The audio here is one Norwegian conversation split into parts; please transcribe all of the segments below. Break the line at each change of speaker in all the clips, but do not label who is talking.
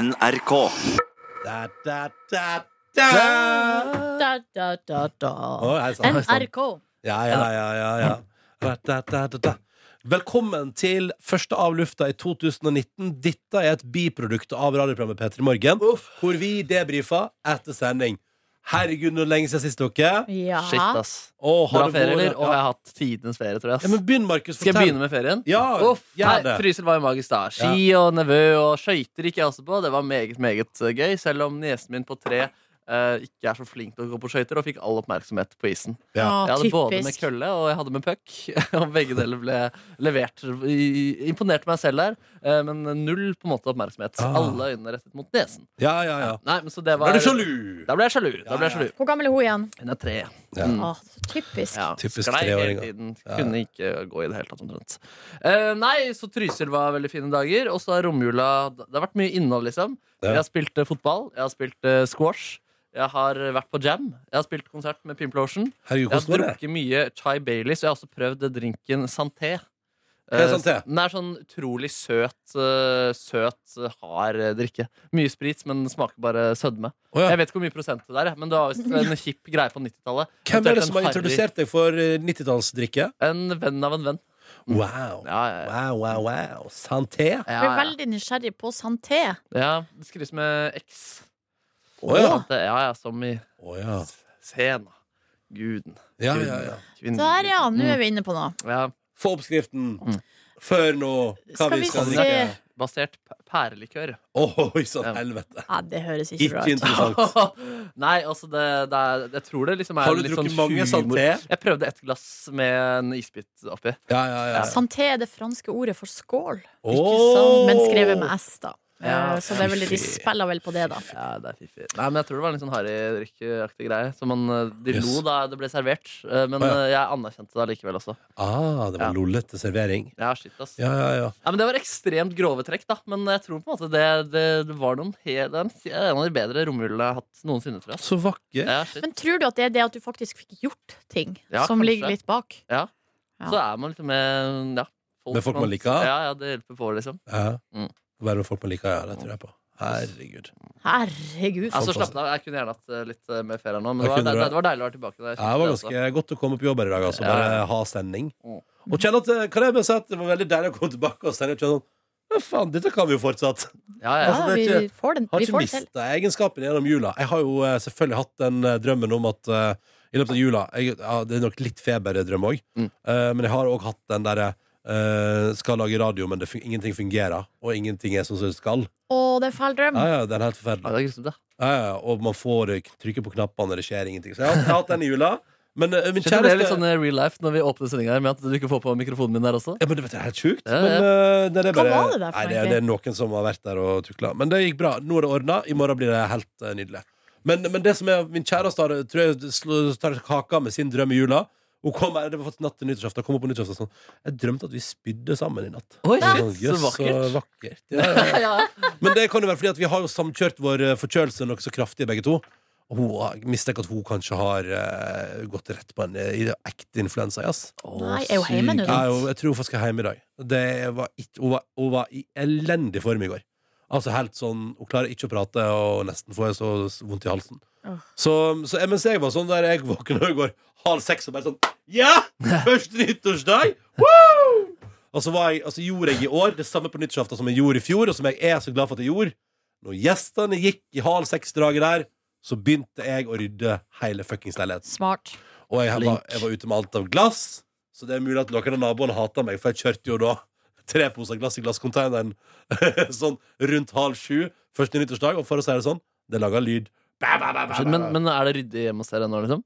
NRK.
Da, da, da, da.
Da, da, da, da.
Å, hei sann, hei sann.
NRK.
Ja, ja, ja, ja, ja. Da, da, da, da, da. Velkommen til første av lufta i 2019. Dette er et biprodukt av radioprogrammet P3 Morgen, hvor vi debrifer etter sending. Herregud, nå er det lenge siden sist dere.
Ja.
Shit, ass.
Å, har
Bra
det vært-
ferie, eller? Å,
Ja.
jeg har hatt tidenes ferie, tror jeg.
ja,
ass.
men begynn, Markus.
Skal jeg begynne med ferien?
Ja,
Uff,
gjør
nei,
det.
Trysil var jo magisk, da. Ski og nevø og skøyter gikk jeg også på. Det var meget, meget eh, gøy, selv om niesen min på tre eh, ikke er så flink til å gå på skøyter, og fikk all oppmerksomhet på isen.
Ja.
Å,
Jeg hadde både med
typisk.
kølle og jeg hadde med puck, og begge deler ble levert. I- Imponerte meg selv der, eh, men null på en måte oppmerksomhet.
Ah.
Alle øynene rettet mot nesen.
Ja, ja, ja.
Nei, men så det
Da
var
er du sjalu?
Da ble jeg sjalu.
Ja,
Da ble jeg
ja.
sjalu.
Hvor gammel er hun igjen?
Hun er tre.
Ja.
Mm.
Å, så typisk.
Ja,
Typisk
sklei
treåringer.
hele tiden. Kunne ikke gå i det hele tatt, omtrent. Eh, nei, så Trysil var veldig fine dager. Og så har romjula Det har vært mye innhold, liksom.
Ja.
Jeg har spilt eh, fotball, jeg har spilt eh, squash, jeg har vært på jam, jeg har spilt konsert med Pimple Ocean.
Herregud,
Jeg har
hvordan var det?
drukket mye Chai Baileys, og jeg har også prøvd drinken Santé.
Hva er Santé?
Eh, Den er sånn utrolig søt, eh, søt, eh, hard eh, drikke. Mye sprit, men den smaker bare sødme.
Å, ja.
Jeg vet ikke hvor mye prosent det der, er, men det var visst en hipp greie på
Hvem
90-tallet.
er det
Eventuelt
som har
en harry-
introdusert deg for eh, 90-tallsdrikke?
En venn av en venn.
Wow.
Ja, ja,
Wow, wow, wow. Santé?
ja.
Jeg ble veldig nysgjerrig på santé.
ja det skrives med X.
Å ja.
Sant det? Ja, ja, som i
Å, ja.
Sena. Guden.
ja, ja, ja.
Kvinnen.
Der, ja.
Mm.
Nå er vi inne på noe.
ja.
Få oppskriften
Mm.
før nå. Hva
Skal vi
vi skal
se.
drikke?
Basert p- pærelikør.
Oi sann,
Ja.
helvete.
Ja, det høres ikke
Ikke
bra ut.
interessant.
Nei, altså, det, det er, jeg tror det liksom er
Har du
litt
drukket
sånn
mange
humor-
santé?
Jeg prøvde et glass med en isbit oppi.
Ja, ja, ja.
Santé er det franske ordet for skål, ikke sant?
Åh!
men skrevet med S, da.
Ja,
Eh, Så det er vel, de
fiffig.
spiller vel på det, da.
Ja, det er fiffig. Nei, men jeg tror det var en litt sånn harry drikkeaktig greie. Så man, eh, de
Yes.
lo da det ble servert, eh, men
Å, ja.
eh, jeg anerkjente det allikevel også.
Ah, det var
Ja.
lollete servering.
Ja, shit, ass.
Ja, ja, ja.
Nei, men Det var ekstremt grove trekk, da. Men jeg tror på en måte det, det, det var noen he- det er en, en av de bedre romjulene jeg har hatt noensinne. tror jeg ass.
Så vakker.
Ja, shit.
Men tror du at det er det at du faktisk fikk gjort ting,
Ja,
som
kanskje.
ligger litt bak? Ja.
Så er man litt med ja,
Med folk man liker.
Ja, ja, det hjelper på, liksom.
Ja.
Mm.
Være med folk man liker, ja. Det tror jeg på. Herregud.
Herregud.
Altså,
Fantastisk.
slapp av, Jeg kunne gjerne hatt eh, litt eh, mer ferie nå, men
Jeg
det var,
kunne
det,
det.
det var deilig å være tilbake.
Ja,
Der.
det var ganske godt å komme på jobb her i dag, altså.
Ja.
Bare ha sending.
Mm.
Og kjenne at, eh, kan jeg bare si at det var veldig deilig å komme tilbake og sende og kjenne sånn Ja, faen, dette kan vi jo fortsatt.
Ja, ja.
Ja,
altså, det er
vi får den-
Har
vi
ikke
får det til.
mista egenskapen gjennom jula. Jeg har jo eh, selvfølgelig hatt den eh, drømmen om at eh, i løpet av jula jeg, ja, Det er nok litt feberdrøm òg,
Mm.
men jeg har òg hatt den derre eh, skal lage radio, men det fun ingenting fungerer. Og ingenting er sånn som det skal.
Å, det er fæl drøm.
Ja, ja, den er helt
Ja,
forferdelig.
det er grusomt, ja.
Ja, ja, og man får eh, trykke på knappene, og det skjer ingenting. Så jeg har, jeg har hatt den i jula. Men eh, min
Kjenner
kjæreste
det er litt sånn eh, real life når vi åpner sendinga her, med at du ikke får på mikrofonen min der også?
ja, men det vet jeg, er helt sjukt.
Ja, ja.
Men, eh, det er
Hva
bare,
var det
nei,
der for noe
det, er-
egentlig?
det er noen som har vært der og tukla. Men det gikk bra. Nå er det ordna. I morgen blir det helt eh, nydelig. Men, men det som er min kjæreste har, tror jeg slår- tar kaka med sin drøm i jula. Hun kom, her- det var faktisk natt til nyttårsaften. Hun kom opp på nyttårsaften og sånn Jeg drømte at vi spydde sammen i natt.
Oi,
Jeg
shit,
sånn,
så
«Jøss,
vakkert.
Så vakkert. Ja, ja, ja. Men det kan jo være fordi at vi har jo samkjørt vår eh, forkjølelse noe så kraftig, begge to. Og hun har- mistenker at hun kanskje har eh, gått rett på en eh, ekte influensa. Yes.
Nei, jeg er jo hjemme nå, da.
Ja, jo, jeg tror hun faktisk skal hjem i dag. Det var ikke, hun, var, hun var i elendig form i går. Altså helt sånn, Hun klarer ikke å prate, og nesten får jeg så vondt i halsen.
Åh.
Så, så jeg- mens jeg var sånn der jeg våkna i går halv seks og bare sånn Ja! Første nyttårsdag! Woo! Og så, var jeg, og så gjorde jeg i år det samme på nyttårsaften som jeg gjorde i fjor, og som jeg er så glad for at jeg gjorde. Når gjestene gikk i halv seks-draget der, så begynte jeg å rydde hele fuckings leiligheten.
Smart.
Og jeg var,
Flink.
jeg var ute med alt av glass, så det er mulig at noen av naboene hata meg, for jeg kjørte jo da tre poser glass i glasskonteineren sånn rundt halv sju første nyttårsdag, og for å si det sånn, det laga lyd. Ba, ba, ba, ba, ba,
Men,
ba.
men er det ryddig hjemme hos dere nå, liksom?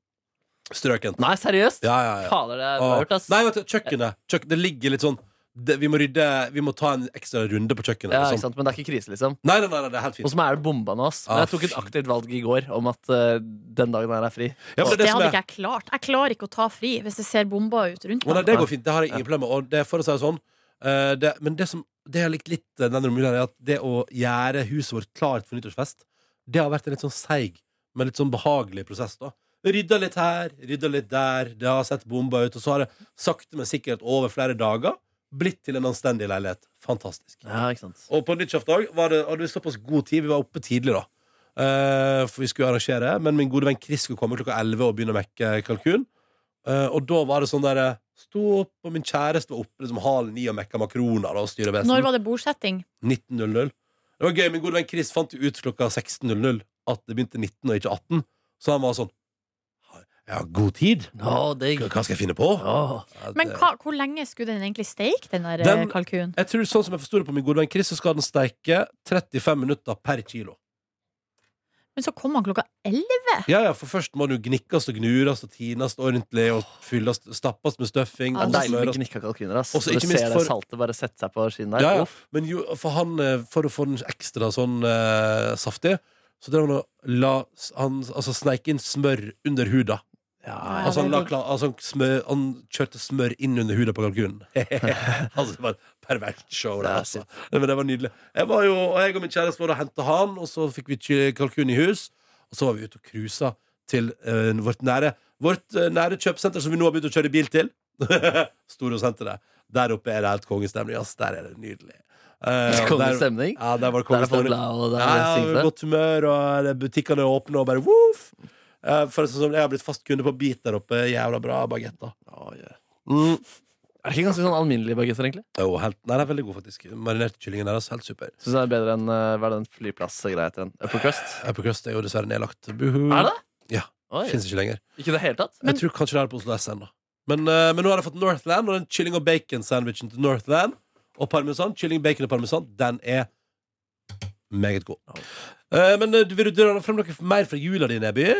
Strøkent.
Nei, seriøst?
Ja, ja, ja.
Fader, det er bra
Åh.
gjort, ass.
Nei, vet du, kjøkkenet. Kjøkken, det ligger litt sånn det, Vi må rydde Vi må ta en ekstra runde på kjøkkenet.
ja, ikke
liksom.
sant? Men det er ikke krise, liksom.
Nei, nei, nei, nei, det er helt
Hos
fint.
meg er det bomba nå, ass. Men
Ah,
jeg tok et
fy.
aktivt valg i går om at eh, den dagen her er fri.
Ja, men
Det,
det, er det, som
hadde
er,
ikke jeg klart. Jeg klarer ikke å ta fri hvis det ser bomber ut rundt
Å, nei,
meg.
det går fint. Det har jeg ingen problemer med. Og det, er for å si det sånn eh, det, Men det som det jeg har likt litt eh, den romjulen, er at det å gjøre huset vårt klart for nyttårsfest, det har vært en litt sånn seig, men litt sånn behagelig prosess, da. Rydda litt her, rydda litt der, det har sett bomba ut, og så har det sakte, men sikkert over flere dager blitt til en anstendig leilighet. Fantastisk.
Ja, ikke sant.
Og på nyttårsdag var det, hadde vi såpass god tid. Vi var oppe tidlig, da. Eh, for vi skulle arrangere. Men min gode venn Chris skulle komme klokka 11 og begynne å mekke kalkun. Eh, og da var det sånn der eh, Sto opp, og min kjæreste var oppe liksom halv ni og mekka makroner. da, Og styrer besen.
Når var det bordsetting?
19.00. Det var gøy. Min gode venn Chris fant jo ut klokka 16.00 at det begynte 19 og ikke 18. Så han var sånn Jeg har god tid.
Nå, digg.
Hva hva skal jeg finne på?
Åh.
Ja,
Men
det-
hva, hvor lenge skulle den egentlig steike, den der
Den-
eh, kalkunen?
Jeg tror Sånn som jeg forsto det på min gode venn Chris, så skal den steike 35 minutter per kilo.
Men så kom han klokka elleve!
Ja, ja, for først må den jo gnikkes og gnures og tines ordentlig og fylles, stappes med stuffing.
Ja,
og
Det er deilig med
smøres.
gnikka kalkuner. ass.
Også
Når
ikke
du
minst
ser
for-
det saltet bare sette seg på skinnet der.
Ja, ja.
Uff.
Men jo, for, han, eh, for å få den ekstra sånn eh, saftig, så drev han og la s- han, altså, sneik inn smør under huda.
Ja,
altså, han,
det
la,
er digg.
kla- altså, han smør, han kjørte smør inn under huda på kalkunen. altså, det var et pervert show. Det,
Det er
altså. Nei, men det var nydelig. Jeg, var jo, og jeg og min kjæreste var og henta han, og så fikk vi ky- kalkun i hus. Og så var vi ute og cruisa til eh, vårt nære Vårt eh, nære kjøpesenter, som vi nå har begynt å kjøre bil til. Storosenteret. Der oppe er det helt kongestemning. ass. der er det nydelig. Eh, og
Kongelig
der,
stemning.
ja, der var det
Der er folk
kongestemning.
glade, og der
Ja,
er
ja,
det
godt humør, og det- butikkene er åpne, og bare woof! Eh, For sånn som jeg har blitt fast kunde på Beat der oppe. Jævla bra bagetter. Mm.
Er det ikke ganske sånn alminnelige bagetter, egentlig?
Jo, helt, nei, det er veldig god, faktisk. Marinerte kyllingen deres, helt super.
Syns jeg er bedre enn eh, hva er den flyplassgreia heter den? Uppercrust?
Epicrust er jo dessverre nedlagt. Buhu.
Er det?
Mm. Ja.
Oi.
Fins ikke lenger.
Ikke i det hele tatt?
jeg tror kanskje det er på Oslo S ennå. Men, eh, men nå har jeg fått Northland, og den kylling og bacon-sandwichen til Northland og parmesan, kylling, bacon og parmesan, den er meget god. Eh, men eh, du- vil du dra frem noe mer fra jula di, Neby?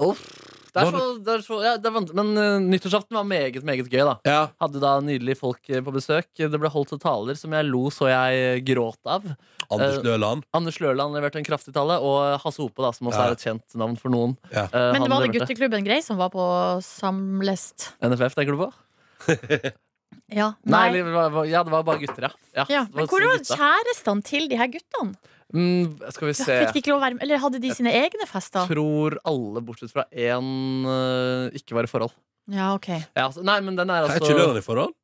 Uff. Det er så, det er så, ja, det er vanskelig. Men eh, nyttårsaften var meget, meget gøy, da.
Ja.
Hadde da nydelige folk eh, på besøk. Det ble holdt taler som jeg lo så jeg eh, gråt av.
Anders
Eh,
Løland.
Anders Løland leverte en kraftig tale, og Hasse Hope, da, som også
Ja.
er et kjent navn for noen.
Ja.
eh,
Men
han
var det
leverte.
gutteklubben Grei som var på samlest?
NFF, tenker du på?
Ja.
Nei,
Nei.
eller hva- hva- ja, det var bare gutter, ja. ja,
Ja,
det
men
var
hvor var
gutta.
kjærestene til de her guttene?
Mm, skal vi se.
Fikk de ikke lov å være med? Eller hadde de sine egne fester?
Tror alle, bortsett fra én, eh, ikke var i forhold.
Ja, ok.
Ja, altså, nei, men den er
Er ikke
altså
Løland i forhold?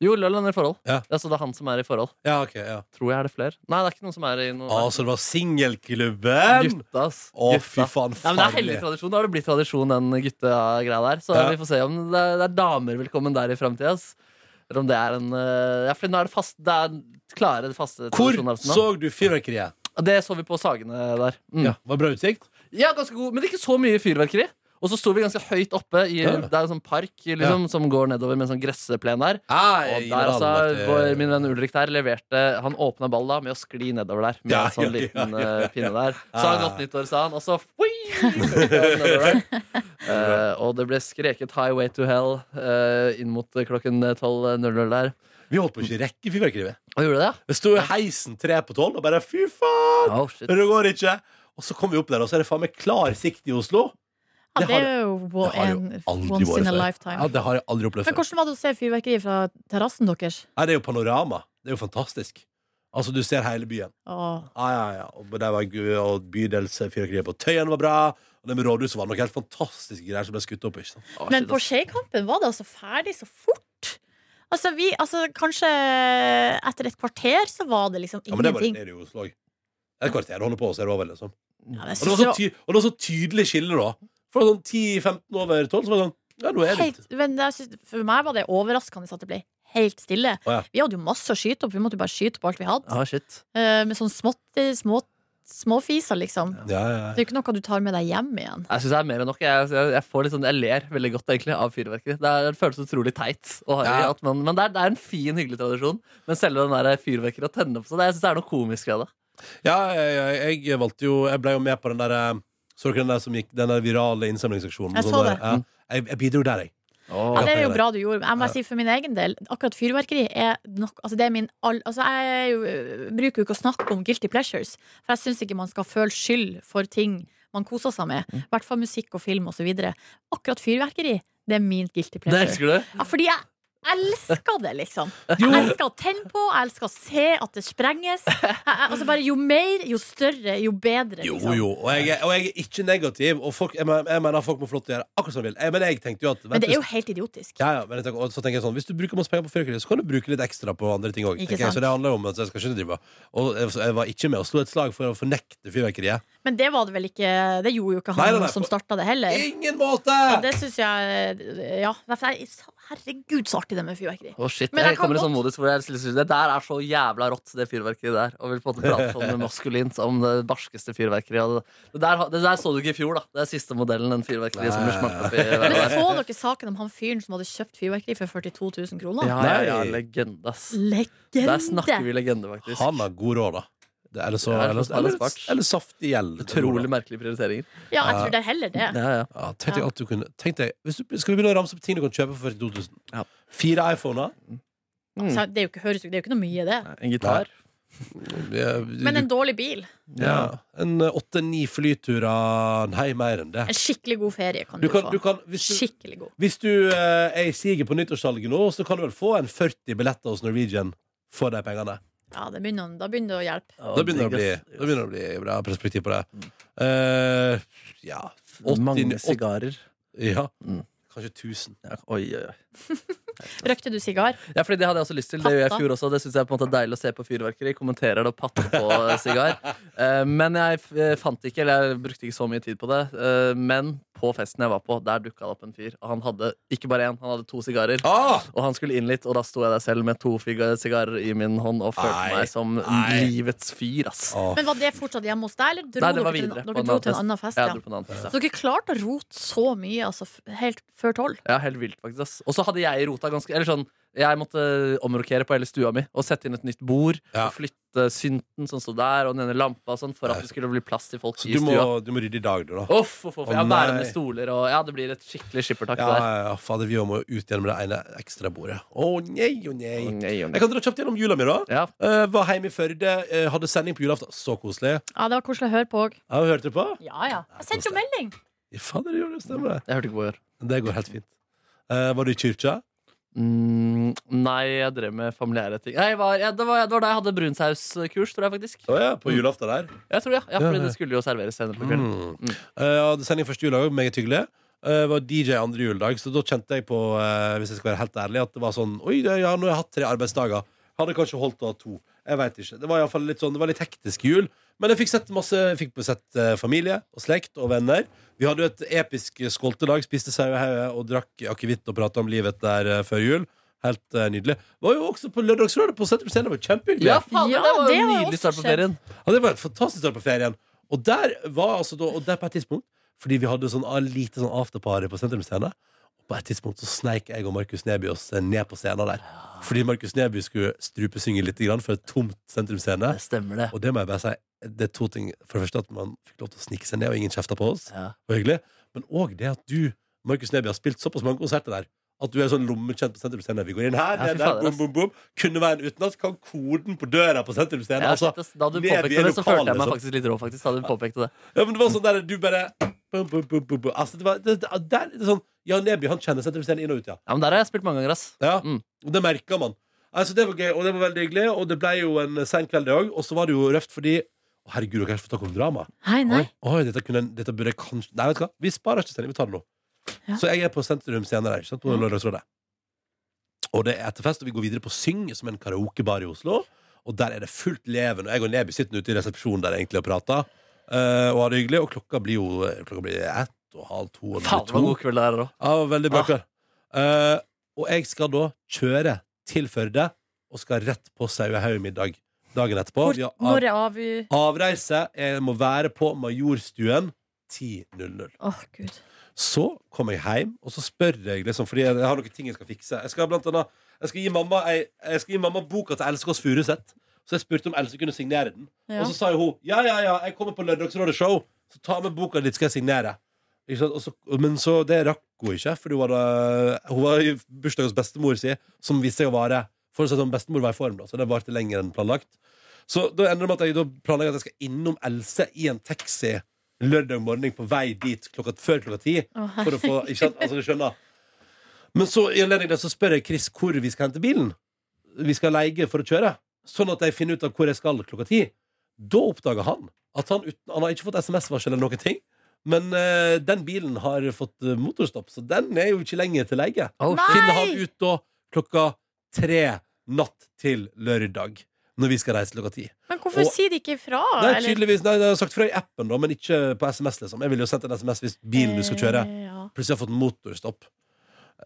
Jo, Løland er i forhold.
Ja.
Det er altså det er han som er i forhold.
Ja, ok, ja.
Tror jeg er det flere. Nei, det er ikke noen som er i noe
Ah, så det var singelklubben!
Gutta, ass.
Å,
Gutta.
fy faen,
Nei, men det er hellig
farlig.
tradisjon. Da har det blitt tradisjon, den guttegreia der. Så
Ja.
vi får se om det er, det er damer velkommen der i framtida. Eller om det er en eh, Ja, for nå er det fast Det er klare, faste
Hvor
tradisjoner, altså, nå.
så du fyrverkeriet?
Det så vi på Sagene der. Mm.
Ja, var det bra utsikt?
Ja, ganske god, men det er ikke så mye fyrverkeri. Og så sto vi ganske høyt oppe. I,
Ja.
Det er en sånn park liksom, som går nedover med en sånn gressplen der.
Ah,
Og der altså, vår, min venn Ulrik der leverte Han åpna ball da med å skli nedover der med
Ja,
en sånn
ja, ja,
liten
ja, ja, ja.
eh, pinne der. Så han
Ah.
godt nyttår, sa han, og så fui, nedover der. Eh, Og det ble skreket 'Highway to Hell' eh, inn mot klokken 12.00 der.
Vi holdt på å ikke rekke fyrverkeriet.
Og gjorde det, ja?
Det sto i heisen tre på tolv, og bare fy faen!
Oh, shit.
Det går ikke! Og så kom vi opp der, og så er det faen meg klar sikt i Oslo.
Ja,
Det
det
har-
er jo
det har jo
en
aldri
once
vært
in a
før. Ja,
lifetime.
Det har jeg aldri opplevd
Men
før.
hvordan var det å se fyrverkeri fra terrassen deres?
Nei, det er jo panorama. Det er jo fantastisk. Altså, du ser hele byen.
Åh.
Ja, ja, ja. Og der var gu- og bydelsfyrverkeriet på Tøyen var bra. Og det med rådhuset var noe helt fantastiske greier som ble skutt opp. ikke sant?
Å,
Men
shit,
på
ass.
Skeikampen var det altså ferdig så fort. Altså, vi, altså, kanskje etter et kvarter så var det liksom
Ja, men det var
ingenting.
det er det i Oslo òg. Et kvarter holder på, og så er det over, liksom.
Ja, men jeg
Og det
synes
var så, ty og det var så tydelig skille, da. For sånn 10-15 over 12 så var det sånn Ja, nå er det
helt, men jeg synes, for meg var det overraskende at det ble helt stille.
Å, ja.
Vi hadde jo masse å skyte opp, vi måtte jo bare skyte på alt vi hadde.
Å, shit.
Eh, med sånn smått, små, småfiser, liksom.
ja, ja,
Det er jo ikke noe du tar med deg hjem igjen.
Jeg syns det er mer enn nok. Jeg, jeg, jeg, får litt sånn, jeg ler veldig godt egentlig av fyrverkeri. Det, er, det føles utrolig teit. Og harry
Ja.
at man, men det er, det er en fin, hyggelig tradisjon. Men selve den der fyrverkeriet å tenne opp sånn, det- jeg syns det er noe komisk ved det.
ja. ja jeg, jeg valgte jo Jeg ble jo med på den der eh, Så dere den der som gikk Den der virale innsamlingsaksjonen?
Jeg
Sånn
så
der,
det. Mm.
ja. Jeg, jeg bidro der, jeg.
Ja, det er jo
det.
bra du gjorde. men Jeg må si for min egen del, akkurat fyrverkeri er nok Altså, det er min all, altså jeg er jo, bruker jo ikke å snakke om guilty pleasures, for jeg syns ikke man skal føle skyld for ting man koser seg med.
Mm.
I hvert fall musikk og film osv. Akkurat fyrverkeri, det er min guilty
Det
pleasure.
elsker du.
Ja, fordi jeg elsker det, liksom.
Jo.
Jeg elsker å tenne på, jeg elsker å se at det sprenges. Jeg, jeg, altså bare Jo mer, jo større, jo bedre.
Jo,
Liksom.
jo. Og jeg, er- og jeg er ikke negativ. Og folk, jeg, mener- jeg mener folk må få lov til å gjøre akkurat som de vil. Jeg, men jeg tenkte jo at
Men det er jo
hvis-
helt idiotisk.
ja, ja, men jeg tenker, og så tenker jeg sånn, Hvis du bruker masse penger på fyrverkeri, så kan du bruke litt ekstra på andre ting òg.
Ikke
Så
sant.
det handler jo om at jeg skal ikke drive Og jeg, jeg var ikke med og slo et slag for å fornekte fyrverkeriet.
Men det var det vel ikke Det gjorde jo ikke han
Nei, nei, nei,
som
på-
starta det heller.
Ingen måte!
Og det syns jeg eh, Ja. derfor er jeg- Herregud, så artig det med fyrverkeri.
Å shit,
Men
jeg
jeg kan
kommer i sånn
godt-
modus hvor jeg synes det der er så jævla rått, det fyrverkeriet der. Og vil på en måte prate sånn maskulint om det barskeste fyrverkeriet. og Det, det, der, det der så du ikke i fjor, da. Det er siste modellen, den fyrverkeriet som blir smakt opp i
Men
været der.
så dere saken om han fyren som hadde kjøpt fyrverkeri for 42 000 kroner?
Ja, ja, ja, legende, ass. Der snakker
Legende!
vi legende, faktisk.
Han har god råd, da. Det, eller, så,
Ja,
eller,
han har
eller,
spart.
eller saftig gjeld.
Utrolig merkelige prioriteringer.
Ja, jeg tror det er heller det.
Ja, ja.
Ja, tenk deg at du kunne, tenk deg, hvis du, skal vi begynne å ramse opp ting du kan kjøpe for 42 000?
Ja.
Fire iPhoner?
Mm.
Så Det er jo ikke, høres jo, det er jo ikke noe mye, det.
En gitar.
Men en dårlig bil.
ja. En åtte-ni flyturer Nei, mer enn det.
En skikkelig god ferie kan
Du
du,
kan, du
få.
kan, hvis du,
Skikkelig god.
hvis du eh, er i siget på nyttårssalget nå, så kan du vel få en 40 billetter hos Norwegian for de pengene.
Ja, det begynner, da begynner det å hjelpe.
Ja,
Da begynner det å bli,
digg, ass.
da begynner det å bli bra perspektiv på det. Eh, ja 80,
Mange sigarer.
Ja,
Mm.
kanskje 1000.
Ja, oi, oi, oi.
Røkte du sigar?
Ja, fordi Det hadde jeg også lyst til. Det gjør jeg i
Patta.
fjor også. Det synes jeg på en måte er deilig å se på fyrverkeri. Kommenterer det og patter på eh, sigar. Eh, Men jeg f- eh, fant ikke, eller jeg brukte ikke så mye tid på det. Eh, Men på festen jeg var på, der dukka det opp en fyr. Og han hadde ikke bare én, han hadde to sigarer.
Ah!
Og han skulle inn litt, og da sto jeg der selv med to figa- sigarer i min hånd og følte
Nei,
meg som
nei.
livets fyr, ass.
Ah.
Men Var det fortsatt hjemme hos deg, eller dro
Nei, det var
dere,
videre,
til, dere
på en
dro
annen
til en
fest.
annen fest?
Jeg
Ja.
dro på en annen fest, ja.
Så dere klarte å rote så mye altså, f- helt før tolv?
Ja, helt vilt faktisk ass. Og så hadde jeg rota ganske Eller sånn, jeg måtte omrokere på hele stua mi Og sette inn et nytt bord
Ja.
Og flytte synten sånn som stod der Og den ene lampa og sånn For at det skulle bli plass til folk
Så
i
du må,
stua
du må rydde i dag, du, da.
Uff, uff, uff,
Å,
jeg har bærende
nei.
stoler Og ja, det blir et skikkelig skippertak
Ja,
der
ja, ja, fader, vi må jo ut gjennom det ene ekstra bordet. Å nei, å nei.
Å, nei, å, nei.
Jeg kan dra kjapt gjennom jula mi, da.
Ja,
Eh, var hjemme i Førde, eh, hadde sending på julaften. Så koselig.
Ja, det var koselig å høre på òg.
Ja, hørte du på?
Ja, ja. Jeg sendte jo melding!
Ja, Fader, det gjør det, stemmer det.
jeg hørte ikke på hør
Det går helt fint. Eh, var du i kyrkja?
mm, Nei, jeg drev med familiære ting Nei, jeg var, jeg, det, var, det var da jeg hadde brunsauskurs, tror jeg faktisk
Å ja, på julaften der.
Jeg tror ja, ja
Ja,
fordi
ja.
det skulle jo serveres senere på kvelden
Mm. Eh, hadde sending første juledag òg, meget hyggelig. Eh, var DJ andre juledag, så da kjente jeg på, eh, hvis jeg skal være helt ærlig, at det var sånn Oi, det- ja, nå har jeg hatt tre arbeidsdager. Hadde kanskje holdt å ha to. Jeg vet ikke. Det var i alle fall litt sånn, det var litt hektisk jul. Men jeg fikk sett masse, jeg fikk sett eh, familie og slekt og venner. Vi hadde jo et episk skoltedag. Spiste sauehauge og drakk akevitt og prata om livet der eh, før jul. Helt eh, nydelig. Var jo også på Lørdagsrådet på Senter på Scenen. Det var kjempehyggelig.
Ja, faen,
Ja,
det var
det
jo en
har
nydelig
også
start på
skjedd.
ferien
Ja, det var et fantastisk start på ferien. Og der var altså da, og der på et tidspunkt Fordi vi hadde sånn ah, lite sånn afterparty på sentrumsscenen. Og på et tidspunkt så sneik jeg og Markus Neby oss eh, ned på scenen der. Fordi Markus Neby skulle strupesynge litt grann for et tomt sentrumsscene.
Det stemmer det
Og det må jeg bare si, det er to ting. For det første at man fikk lov til å snike seg ned, og ingen kjefta på oss.
ja.
Det var hyggelig. Men òg det at du, Markus Neby, har spilt såpass mange konserter der. At du er sånn lommekjent på sentrumsscenen. Vi går inn her,
Ja, fy
ned der,
fader,
bom,
ass.
bom, bom. Kunne være en utenat. Kan koden på døra på sentrumsscenen.
Ja,
Altså,
shit, ass. da du
ned i
påpekte det, så følte jeg
lokalet,
meg
så-
faktisk litt rå. faktisk Da du påpekte det
Ja, men det var sånn der du bare bum, bum, bum, bum, bum. Altså, det var det, det, der, det er sånn Jan Neby han kjenner sentrumsscenen inn og ut, ja.
Ja, men Der har jeg spilt mange ganger. ass
ja.
Mm.
Og det merka man. Altså, det var gøy, og det var veldig hyggelig, og det ble jo en sen kveld, det òg. Og så var det jo røft fordi Å, herregud, dere har ikke fått snakke om drama.
Hei, nei.
Oi, oi, dette, kunne, en- dette burde jeg kanskje Nei, vet du hva, vi sparer ikke sending, vi tar det nå.
Ja.
Så jeg er på Sentrum senere, ikke sant, på
Ja.
Lørdagsrådet. Og det er etterfest, og vi går videre på Syng, som er en karaokebar i Oslo. Og der er det fullt leven, og jeg og Neby sitter ute i resepsjonen der egentlig og prater. eh, og har det hyggelig, og klokka blir jo klokka blir ett og halv to. Og
Faen, det var god kveld der òg.
ja, det var veldig bra
Ah.
kveld. Eh, og jeg skal da kjøre til Førde, og skal rett på Sauehaug-middag dagen etterpå.
Hvor,
Vi har av-
når er av... Åh,
Avreise jeg må være på Majorstuen 10.00.
gud.
Så kom jeg hjem, og så spør jeg liksom, fordi jeg har noen ting jeg skal fikse. Jeg skal blant annet jeg skal gi mamma, jeg, jeg skal gi mamma boka til Else Kåss Furuseth. Så jeg spurte om Else kunne signere den.
Ja.
Og så sa jo hun ja, ja, ja, jeg kommer på Lørdagsrådet show, så ta med boka ditt, skal jeg signere. Ikke sant? Og så, men så det rakk hun ikke, for hun var, da, hun var i bursdag hos bestemor si, som viste seg å vare Forutsatt om bestemor var i form, da, så det varte lenger enn planlagt. Så da ender det med at jeg da planlegger at jeg skal innom Else i en taxi lørdag morgen på vei dit klokka, før klokka ti.
Å,
For å få, ikke sant? Altså, du skjønner Men så i anledning til det så spør jeg Chris hvor vi skal hente bilen. Vi skal leie for å kjøre. Sånn at jeg finner ut av hvor jeg skal klokka ti. Da oppdager han at han, uten, han har ikke fått SMS-varsel eller noen ting. Men eh, den bilen har fått eh, motorstopp, så den er jo ikke lenger til leie.
Å,
Nei!
Finner han ut da klokka tre natt til lørdag. Når vi skal reise klokka ti.
Men hvorfor
Og-
sier de ikke ifra?
Nei,
eller?
tydeligvis, nei, det har jeg sagt fra i appen, da, men ikke på SMS. liksom Jeg ville jo sendt en SMS hvis bilen du skal kjøre,
Eh, ja.
plutselig har fått motorstopp.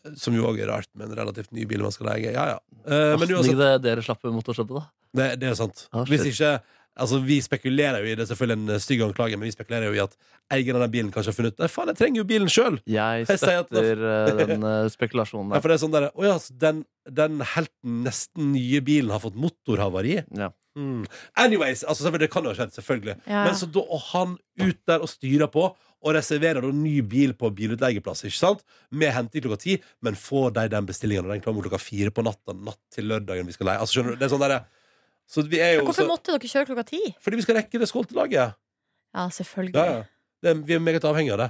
eh, Som jo òg er rart med en relativt ny bil man skal leie. Ja, ja. Eh, men
Hvordan
uansett,
gikk det dere slapp motorstoppet, da?
det, det er sant.
Ah, shit.
Hvis ikke Altså, Vi spekulerer jo i det, er selvfølgelig en eh, stygg anklage, men vi spekulerer jo i at eieren av den bilen kanskje har funnet Nei, faen, jeg trenger jo bilen sjøl!
Jeg
Jeg sier at-
støtter eh, den eh, spekulasjonen
Ja,
der.
for det er sånn der, «Å ja, så den, den helt nesten nye bilen har fått motorhavari.
Ja.
Mm. Anyways, altså selvfølgelig, det kan jo ha skjedd, selvfølgelig.
Ja.
Men så da, og han ut der og styrer på, og reserverer da ny bil på bilutleieplass, ikke sant? Med henting klokka ti, men får de den bestillingen, og den kommer klokka fire på natta, natt til lørdagen vi skal leie. Altså, skjønner du, det er sånn der, så vi er jo... Så,
Hvorfor måtte dere kjøre klokka ti?
fordi vi skal rekke det skåltelaget.
Ja, selvfølgelig.
Ja, ja. Det, er- vi er meget avhengige av det.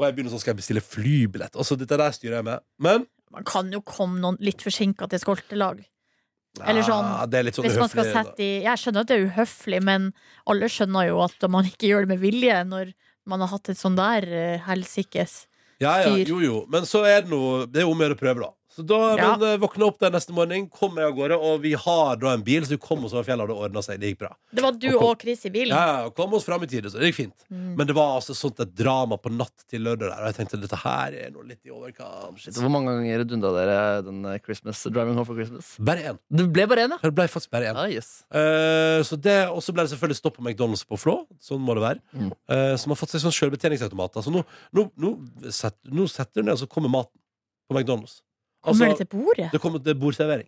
Og jeg begynner sånn, skal jeg bestille flybillett? Altså, dette der styrer jeg med. Men...
Man kan jo komme noen litt forsinka til skoltelag. Eller sånn,
Ah, det er litt sånn
Hvis man skal
uhøflig, da.
sette i Jeg skjønner at det er uhøflig, men alle skjønner jo at man ikke gjør det med vilje når man har hatt et sånn der eh, helsikes.
Ja, ja,
styr.
jo, jo. Men så er det noe Det er jo om å gjøre å prøve, da. Så da
Ja.
men, eh, våkna opp den neste morgenen, kom jeg av gårde, og vi har da en bil, så vi kom oss over fjellet, og det ordna seg. Det gikk bra.
Det var du
Og kom-
og Chris i bilen.
Ja, ja, og kom oss fram i tide, så det gikk fint.
Mm.
Men det var altså sånt et drama på natt til lørdag der, og jeg tenkte dette her er noe litt i overkant.
Shit,
Shit.
Hvor mange ganger dundra dere den eh, Christmas, Driving Home for Christmas?
Bare én.
Det ble bare én, ja.
Det ble faktisk bare én.
Ah, yes.
Eh, så det- Og så ble det selvfølgelig stopp på McDonald's på Flå. Sånn må det være.
Mm.
Eh, som har fått seg sånn sjølbetjeningsautomat. Altså, nå, nå, nå, setter, nå setter du ned, og så kommer maten på McDonald's.
Kommer
Altså,
det til bordet?
det kommer til bordservering.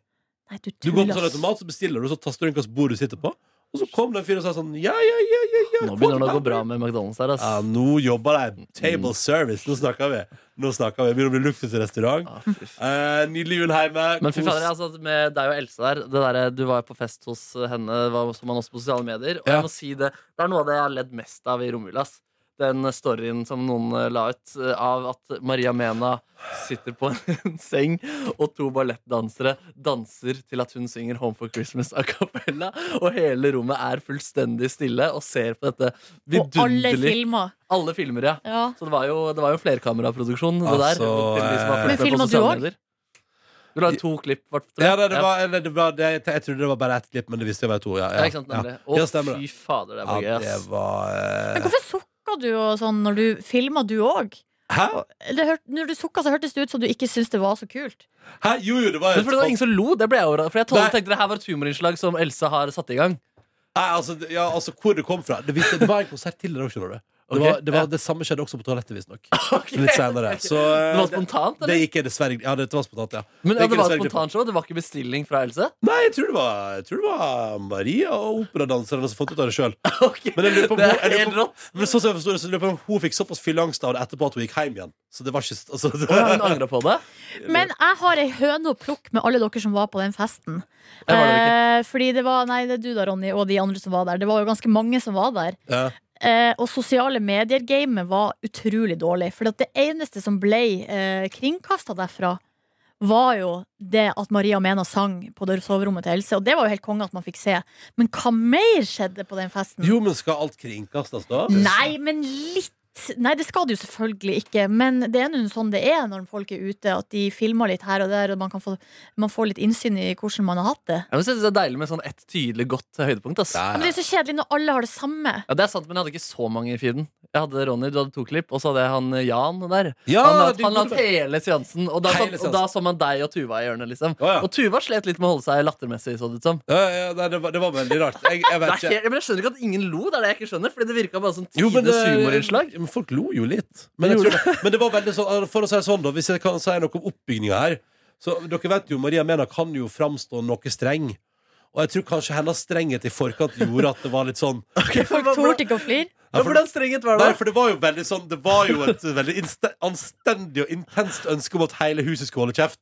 Nei, du
Du går på
tuller.
sånn automat, så bestiller du, så taster du inn hvilket bord du sitter på. Og så kom det en fyr og sa sånn Ja, ja, ja, ja, ja
Nå begynner det å gå bra med McDonald's her.
Ja,
Ass.
nå jobber de. Table
Mm.
service. Nå snakker vi. Nå snakker vi. Det Begynner å bli luksusrestaurant.
Ah, fy faen.
Eh, nydelig jul hjemme.
Men fy
Kos.
fader, altså, med deg og Else der, det der Du var jo på fest hos henne, var- som man også på sosiale medier. Og
Ja.
jeg må si det, det er noe av det jeg har ledd mest av i romjula. ass. Den storyen som noen eh, la ut eh, av at Maria Mena sitter på en seng, og to ballettdansere danser til at hun synger 'Home for Christmas' a cappella, og hele rommet er fullstendig stille og ser på dette
Og alle
vidunderlig
filmer.
Alle filmer, ja.
Ja.
Så det var jo, det var jo flerkameraproduksjon. det der,
Altså,
til de som har
eh,
fulgt
Men
med på
filmet du
sosiale
også?
medier. Du la ut to klipp. Hvert, tror jeg.
Ja, nei, det var, eller, det var, det, jeg, jeg trodde det var bare ett klipp, men det visste jeg var to. Ja,
Ja,
ja,
ikke sant, nemlig.
ja.
Å,
Ja, stemmer det.
fy fader, det var gøy,
Ja, det
ass.
var eh,
Men hvorfor sukka du og sånn når du filma, du òg?
Hæ?
Det hør- Når du sukka, så hørtes det ut som du ikke syntes det var så kult.
Hæ? Jo, jo, det var
Men fordi det var ingen som lo, det ble jeg overrasket For jeg trodde,
Nei.
tenkte det her var et humorinnslag som Else har satt i gang.
Nei, altså, det- ja, altså, hvor det kom fra. Det, visste, det var en konsert til der også, skjønner du. Det,
Ok,
var, det,
ja.
var, det samme skjedde også på toalettet, visstnok. Litt senere. Så eh,
Det var
det-
spontant,
Det
eller?
gikk jeg dessverre Ja, dette var spontant, ja.
Men ja,
gikk
det var
dessverre
et spontant show, det var ikke bestilling fra Else?
Nei, jeg tror det var, jeg tror det var Maria og operadanserne som fant ut av det sjøl.
Ok,
Men jeg lurer på om
Det
hun- jeg
er
lurer
helt
på-
rått.
Men sånn som jeg forstår det, så lurer jeg på om hun fikk såpass fylleangst av det etterpå at hun gikk hjem igjen. Så det var ikke altså, det-
Og hun angra på det?
Men jeg har ei høne å plukke med alle dere som var på den festen.
Det var det vel ikke.
Eh, fordi det var Nei, det er du da, Ronny, og de andre som var der. Det var jo ganske mange som var der.
ja.
Eh, og sosiale medier-gamet var utrolig dårlig. For det eneste som ble eh, kringkasta derfra, var jo det at Maria Mena sang på det soverommet til Else. Og det var jo helt konge at man fikk se. Men hva mer skjedde på den festen?
Jo, men skal alt kringkastes da?
Nei, men litt. Nei, det skal det jo selvfølgelig ikke, men det er nå sånn det er når folk er ute, at de filmer litt her og der, og man, kan få, man får litt innsyn i hvordan man har hatt det.
Jeg synes det er deilig med sånn ett tydelig godt høydepunkt. ass
Ja,
Men
ja.
det er jo så kjedelig når alle har det samme.
Ja, det er sant, men jeg hadde ikke så mange i feeden. Jeg hadde Ronny, du hadde to klipp, og så hadde jeg han eh, Jan der.
Ja,
han la ut
du-
han la ut hele seansen, og da,
Hele
sånn, og da så man deg og Tuva i hjørnet, liksom.
Å, ja.
Og Tuva slet litt med å holde seg lattermessig, så det ut som.
ja, ja, nei, det, var, det var veldig rart. Jeg, jeg
Det
vet
er
ikke.
helt, men jeg skjønner ikke at ingen lo, det er det jeg ikke skjønner, fordi det virka bare som
Jo, men, eh,
tidenes
det-
humorinnslag.
Ja, men folk lo jo litt. Men, jeg tror
Det
det, men det var veldig sånn For å si det sånn, da, hvis jeg kan si noe om oppbygninga her Så Dere vet jo, Maria Mena kan jo framstå noe streng. Og jeg tror kanskje hennes strenghet i forkant gjorde at det var litt sånn
Folk torde ikke å flire.
Ja, for- Hvordan strenghet var det?
Nei, for det var jo veldig sånn Det var jo et veldig inste- anstendig og intenst ønske om at hele huset skulle holde kjeft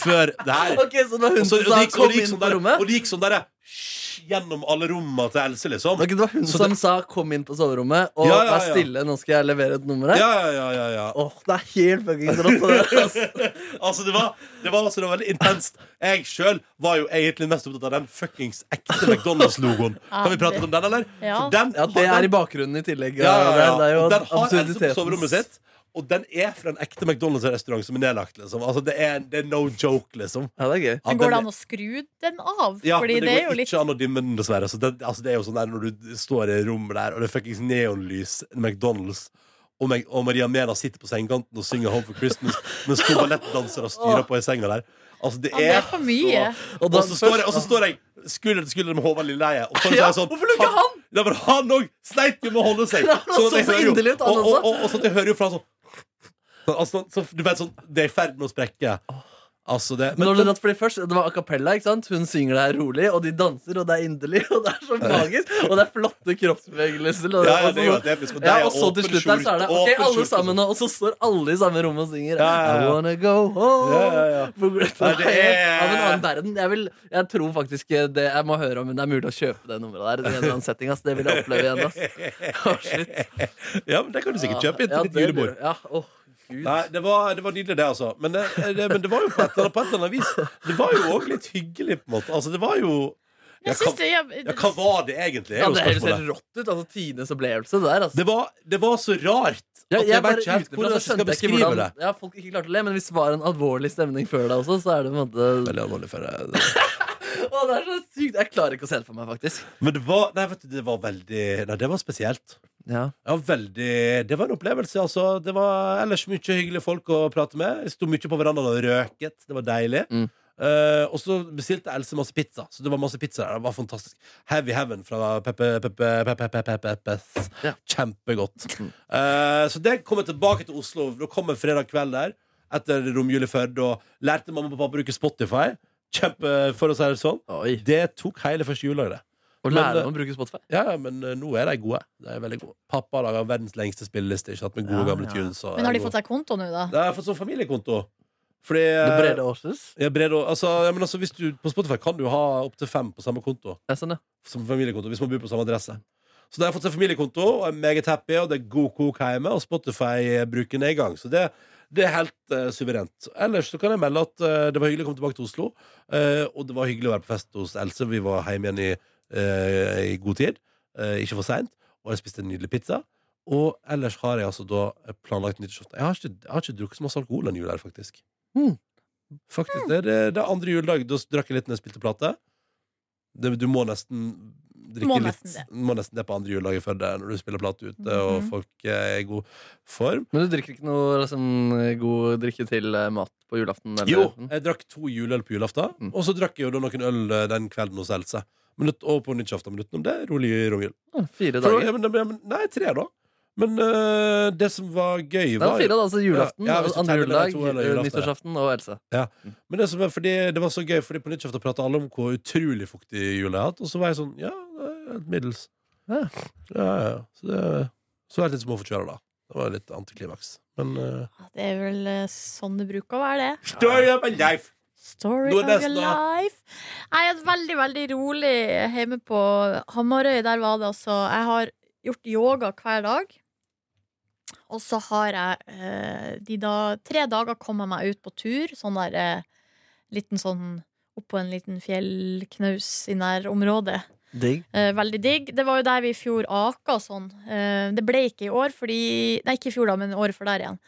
før det her.
Ok, så det var
Og
hun
så-
som
og
sa
det gikk- og
'kom
det gikk
inn
sånn
på
der-
rommet'?
Og det gikk sånn derre sj- gjennom alle rommene til Else, liksom.
Ok, det var hun
Så
som sa 'kom inn på soverommet' og
Ja, ja,
vær
ja.
stille, nå skal jeg levere et nummer her.
Ja, ja, ja, ja, ja.
Åh, det er helt fuckings rått. det, ass.
Altså, det var, det var, altså, det var veldig intenst. Jeg sjøl var jo egentlig mest opptatt av den fuckings ekte McDonald's-logoen. Kan vi prate litt om den, eller?
Ah, Ja.
For den,
Ja, det
har-
er i bakgrunnen i tillegg.
ja, ja, ja.
Det, det er jo
Og den har Else på
absurditetens-
soverommet sitt. Og den er fra en ekte McDonald's-restaurant som er nedlagt. liksom Altså, det er, det er no joke, liksom.
Ja, det er gøy.
Ja,
Men går det
den-
an å skru den av?
Ja,
Fordi
men
det
det går
er jo litt
ikke an å dimme den, dessverre. Så det, altså, det er jo sånn der når du står i rommet der, og det er fuckings neonlys, McDonald's, og, Meg, og Maria Mena sitter på sengekanten og synger Home for Christmas, mens to ballettdansere styrer på i senga der. Altså, det
ja, Det
er
er for mye.
Og
så-
da-
Og så står jeg, og så står jeg skulder til skulder med Håvard Lilleheie. Og så er det
Ja,
sånn,
hvorfor lukker han?
Ja, men han òg sleit jo med å holde seg.
Ja, han
Sånn at
så
jeg
så
hører jo-
inderlig ut, han
og, og,
også.
og, og sånn at jeg hører jo fra sånn så, altså, så, Du vet sånn Det er i ferd med å sprekke. Altså, det
Men, når det, fordi først, det var a cappella. ikke sant? Hun synger det her rolig, og de danser, og det er inderlig, og det er så magisk. Og det er flotte kroppsbevegelser. Og,
Ja, ja, det er jo
og,
helt episk, og
Altså, sånn- ja,
deg er
og så til
åpen
slutt der, så er det
skjorte,
ok,
åpen
alle
skjorte.
sammen nå, og så står alle i samme rom og synger
liksom. Ja, ja, ja.
I wanna go home.
Ja, ja, ja.
For Greta
Nei, det
Thunberg
er-
Av en annen verden. Jeg, vil, jeg tror faktisk det Jeg må høre om det er mulig å kjøpe det nummeret der. i en eller annen setting, ass. Det vil jeg oppleve igjen. ass. Å, shit.
Ja, men det kan du sikkert kjøpe inn
Ah, Ja,
til ditt
det
julebord.
blir- Ja, åh, Gud.
Nei, det var, det var nydelig, det, altså. Men det, det, men det var jo på et eller annet, på et eller annet vis Det var jo òg litt hyggelig, på en måte. Altså, det var jo
Jeg
hva,
synes det, jeg,
ja, hva var det egentlig? Er
Ja,
jo
det høres
spørsmålet.
helt rått ut. altså Tidenes opplevelse, det der. altså
Det var, det var så rart at
Ja,
jeg,
jeg
vet
bare
ikke helt
utenfra
hvordan
så
jeg skal
skjønte jeg ikke
beskrive det.
hvordan- Ja, folk ikke klarte å le, men hvis det var en alvorlig stemning før deg også, så er det på en måte
Veldig alvorlig for det.
Å, det er så sykt! Jeg klarer ikke å se det for meg, faktisk.
Men det var, nei, vet du, det var veldig Nei, det var spesielt.
Ja.
Ja, veldig, det var en opplevelse, altså. Det var ellers mye hyggelige folk å prate med. Jeg Sto mye på verandaen og røket. Det var deilig.
Mm.
Eh, og så bestilte Else masse pizza. Så det var masse pizza der. Det var fantastisk. Heavy Heaven fra Peppe Peppe Peppe Peppe Peppes.
Ja.
Kjempegodt.
Mm.
Eh, så det kom jeg tilbake til Oslo. Da kom jeg fredag kveld der etter romjul i Førde og lærte mamma og pappa å bruke Spotify. Kjempe, for å si det sånn.
Oi.
Det tok hele første juledag, det.
Og
Men,
lære
eh,
om å bruke Spotify.
Ja, ja, men eh, nå er de gode. De er veldig gode. Pappa lager verdens lengste spilleliste. Ikke sant? Med gode,
Ja,
gamle
ja.
tunes. og
men har
er
de
gode.
fått seg konto nå, da?
De har fått sånn familiekonto. Fordi
Det
eh,
brede årsus.
ja, Bredo, altså, ja, men altså, hvis du, På Spotify kan du ha opptil fem på samme konto.
Ja, sånn, ja.
Som familiekonto Hvis man bor på samme adresse. Så de har fått seg familiekonto, og er meget happy, og det er god kok hjemme, og eh, Spotify-bruken er i gang. Så det, det er helt eh, suverent. Ellers så kan jeg melde at eh, det var hyggelig å komme tilbake til Oslo, eh, og det var hyggelig å være på fest hos Else. Vi var hjemme igjen i, eh, i god tid, eh, ikke for seint, og jeg spiste en nydelig pizza. Og ellers har jeg altså da planlagt nyttårsaften. Jeg, har ikke- jeg har ikke drukket så masse alkohol denne jula her, faktisk.
Mm.
Hmm.
Faktisk, det, er- det, er- det er andre juledag. Da drakk jeg litt når jeg spilte plate. Det, du må nesten drikke
Må
litt
nesten det.
Må nesten det på andre juledag i Førde når du spiller plate ute og
Mhm.
folk eh, er i god form.
Men du drikker ikke noe liksom, god drikke til eh, mat på julaften? Eller?
Jo,
Hm,
jeg drakk to juleøl på julaften,
Mm.
og så drakk jeg jo da noen øl eh, den kvelden hos Else. Men, ut- og på nyttårsaften. Men utenom det, rolig romjul.
Ah, Fire
For-
dager.
ja, men- ja, men- Nei, tre, da. Men eh, det som var gøy,
Det er
var
fire, da. Altså julaften,
Ja, ja, hvis du
andre
teller de
juledag,
to, eller julaften, ja.
nyttårsaften og Else.
Men det, som er, fordi, det var så gøy, fordi på nyttårsaften prata alle om hvor utrolig fuktig jul jeg har hatt. Og så var jeg sånn Ja, det er helt middels.
Ja.
Ja, ja, ja. Så det så var jeg litt småforkjøla da. Det var litt antiklimaks. Men eh,
Det er vel eh, sånn det bruker å være, det.
Story of my life!
Story
Nå er
of
det
your
nesten da.
life. Jeg er veldig, veldig rolig hjemme på Hamarøy. Der var det altså Jeg har gjort yoga hver dag. Og så har jeg eh, de da, tre dager kom jeg meg ut på tur. Sånn der eh, liten sånn Oppå en liten fjellknaus i nærområdet.
Digg.
Eh, veldig digg. Det var jo der vi i fjor aka og sånn. Eh, det ble ikke i år, fordi Nei, ikke i fjor, da, men året før der igjen.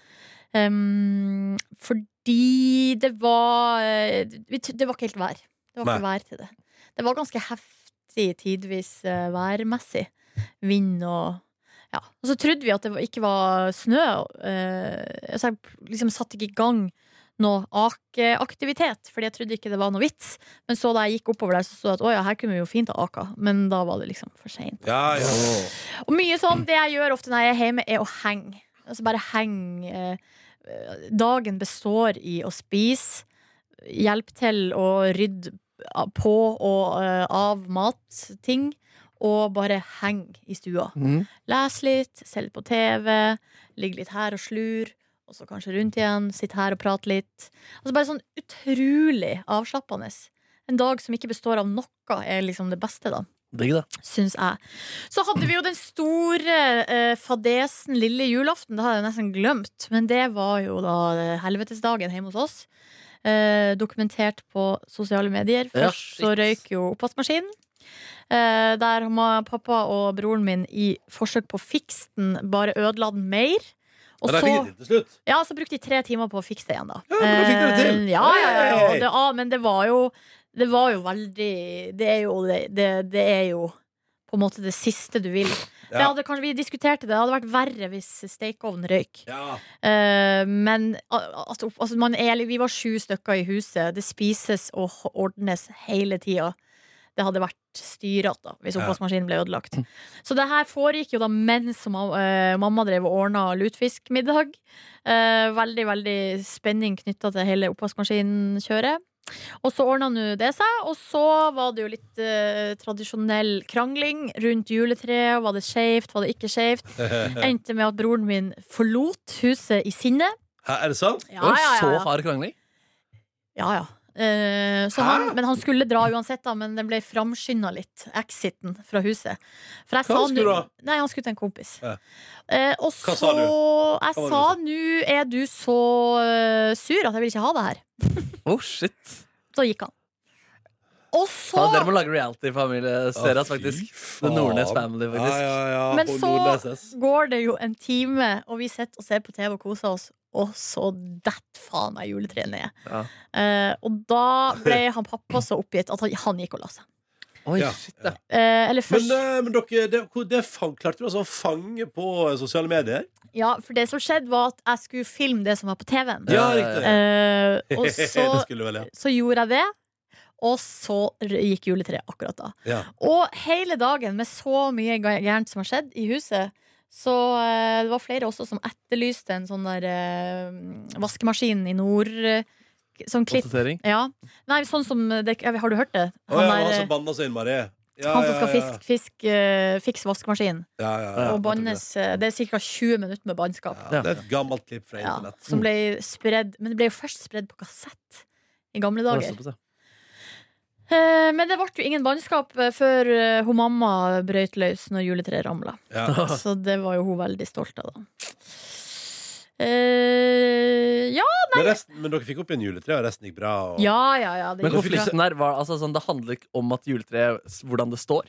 Ehm, fordi det var eh, vi t- Det var ikke helt vær. Det var ikke vær til det. Det var ganske heftig tidvis eh, værmessig. Vind og ja. Og så trodde vi at det var- ikke var snø. eh, så jeg liksom satte ikke i gang noe akeaktivitet, fordi jeg trodde ikke det var noe vits. Men så da jeg gikk oppover der, så sto det at å ja, her kunne vi jo fint ha aka. Men da var det liksom for seint.
Ja, ja.
Og mye sånn, det jeg gjør ofte når jeg er hjemme, er å henge. Altså bare henge. eh, eh, Dagen består i å spise, hjelpe til å rydde a- på og eh, av matting, og bare henge i stua.
Mm.
Les litt, se litt på TV, ligge litt her og slur, og så kanskje rundt igjen, sitte her og prate litt. Altså bare sånn utrolig avslappende. en dag som ikke består av noe, er liksom det beste, da.
Digg, da.
Syns jeg. Så hadde vi jo den store eh, fadesen lille julaften. Det hadde jeg nesten glemt. Men det var jo da eh, helvetesdagen hjemme hos oss. Eh, dokumentert på sosiale medier.
Ja,
Først så
shit.
røyk jo oppvaskmaskinen. Eh, der ma- pappa og broren min i forsøk på å fikse den bare ødela den mer. Og
Men de
så
fikk det til til slutt.
ja, så brukte de tre timer på å fikse det igjen, da.
Ja, men da fikk dere det til.
Eh, Ja, ja, ja, ja.
Hey!
Det, ja men det var jo Det var jo veldig Det er jo det, det, det er jo på en måte det siste du vil.
Ja.
Det hadde, kanskje vi diskuterte det. Det hadde vært verre hvis stekeovnen røyk.
Ja.
Eh, men al- altså, opp- altså, man er, vi var sju stykker i huset. Det spises og h- ordnes hele tida. Det hadde vært styrete da, hvis
Ja.
oppvaskmaskinen ble ødelagt. Så det her foregikk jo da mens ma- eh, mamma drev og ordna lutefiskmiddag. Eh, veldig, veldig spenning knytta til hele oppvaskmaskinkjøret. Og så ordna nå det seg, og så var det jo litt eh, tradisjonell krangling rundt juletreet. Var det skeivt, var det ikke skeivt? Endte med at broren min forlot huset i sinne.
Hæ, er det sant?
Ja,
Det var
ja,
Så
ja.
hard krangling.
ja, ja. Eh, så
Hæ?
han, men han skulle dra uansett, da, men den ble framskynda litt, exiten fra huset. For
Hva
jeg sa
skulle
nå-
du ha?
Nei, han skulle til en kompis.
Ja.
Eh, og
Hva
så
sa
Jeg
Hva var det
sa nå er du så eh, sur at jeg vil ikke ha det her.
Oh, shit.
Så gikk han. Og så
Ja, dere må lage reality-familieserie, faktisk. The Nordnes Family, faktisk.
Ja, ja, ja.
Men
og
så-
Nordnes S.
går det jo en time, og vi sitter og ser på TV og koser oss, og så detter faen meg juletreet ned.
Ja.
Eh, og da ble han pappa så oppgitt at han, han gikk og la seg.
Oi,
Ja.
shit, ja.
Eh,
Men,
eller først
eh, men dere, det, hvor- det fang, klarte du altså å fange på eh, sosiale medier?
Ja, for det som skjedde, var at jeg skulle filme det som var på TV-en.
Ja,
Ja, riktig.
Eh, og
det
så,
skulle du vel, ja.
så gjorde jeg det. Og så r- gikk juletreet akkurat da.
ja.
Og hele dagen, med så mye ga- gærent som har skjedd i huset, så eh, det var flere også som etterlyste en sånn der eh, vaskemaskin i nord... eh, sånn klipp.
Konstatering.
Ja. Nei, sånn som det, ja, Har du hørt det?
Å, ja, han
der,
som banna så innmari. Ja,
eh, Han som skal
ja, ja.
fisk, fisk, eh, fikse vaskemaskinen.
Ja, ja, ja.
og
jeg tror
bannes eh, Det er ca. 20 minutter med bannskap.
Ja, det er et gammelt klipp fra
Ja,
internett.
som ble spredd Men det ble jo først spredd på kassett i gamle
Ja,
dager.
såpass, ja.
Eh, Men det ble jo ingen bannskap eh, før eh, hun mamma brøyt løs når juletreet ramla.
Ja.
Så det var jo hun veldig stolt av, da. Eh, ja,
Men, resten, men dere fikk opp igjen juletreet, og resten gikk bra? Og...
ja, ja. ja det,
Men
gikk bra.
konflikten der var altså sånn, det handler ikke om at juletreet s- hvordan det står.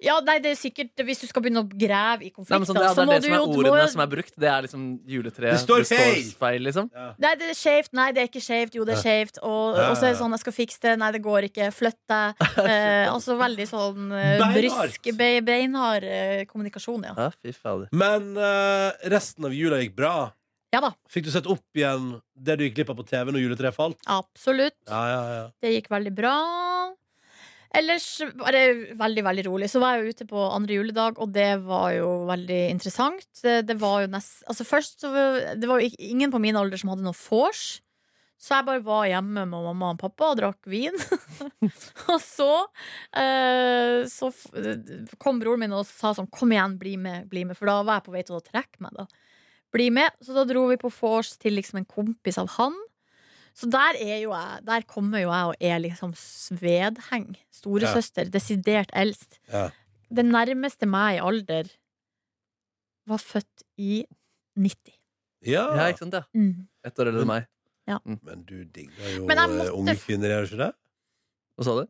ja, nei, det er sikkert Hvis du skal begynne å grave i
Nei, men
konflikter,
sånn, ja, det
så må
er
du
det som
jo
er
du
ordene
må-
som er brukt. Det er liksom juletreet.
Det står feil!
feil liksom.
Ja.
Nei, det er skjevt. Nei, det er ikke skjevt. Jo, det er skjevt. Og,
Ja.
og så er det sånn, jeg skal fikse det. Nei, det går ikke. Flytt deg. Eh, altså veldig sånn eh,
Beinhardt.
brysk, be- beinhard eh, kommunikasjon, ja.
Ja, fy fader.
Men eh, resten av jula gikk bra.
Ja da,
Fikk du sett opp igjen det du gikk glipp av på TV når juletreet falt?
absolutt.
Ja, ja, ja.
Det gikk veldig bra. Ellers var det veldig veldig rolig. Så var jeg jo ute på andre juledag, og det var jo veldig interessant. Det, det var jo nest, altså først, så, det var jo ik- ingen på min alder som hadde noe vors. Så jeg bare var hjemme med mamma og pappa og drakk vin. og så, eh, så f- kom broren min og sa sånn Kom igjen, bli med, bli med. For da var jeg på vei til å trekke meg. da Bli med. Så da dro vi på vors til liksom en kompis av han. Så der er jo jeg Der kommer jo jeg og er liksom svedheng. Storesøster. Desidert eldst.
Ja.
Det nærmeste meg i alder var født i 90.
ja.
Ja, ikke sant, ja.
Mm.
Ett år eldre enn meg.
Men du digger jo
Men jeg
eh,
måtte-
unge kvinner, gjør du ikke det?
Hva sa du?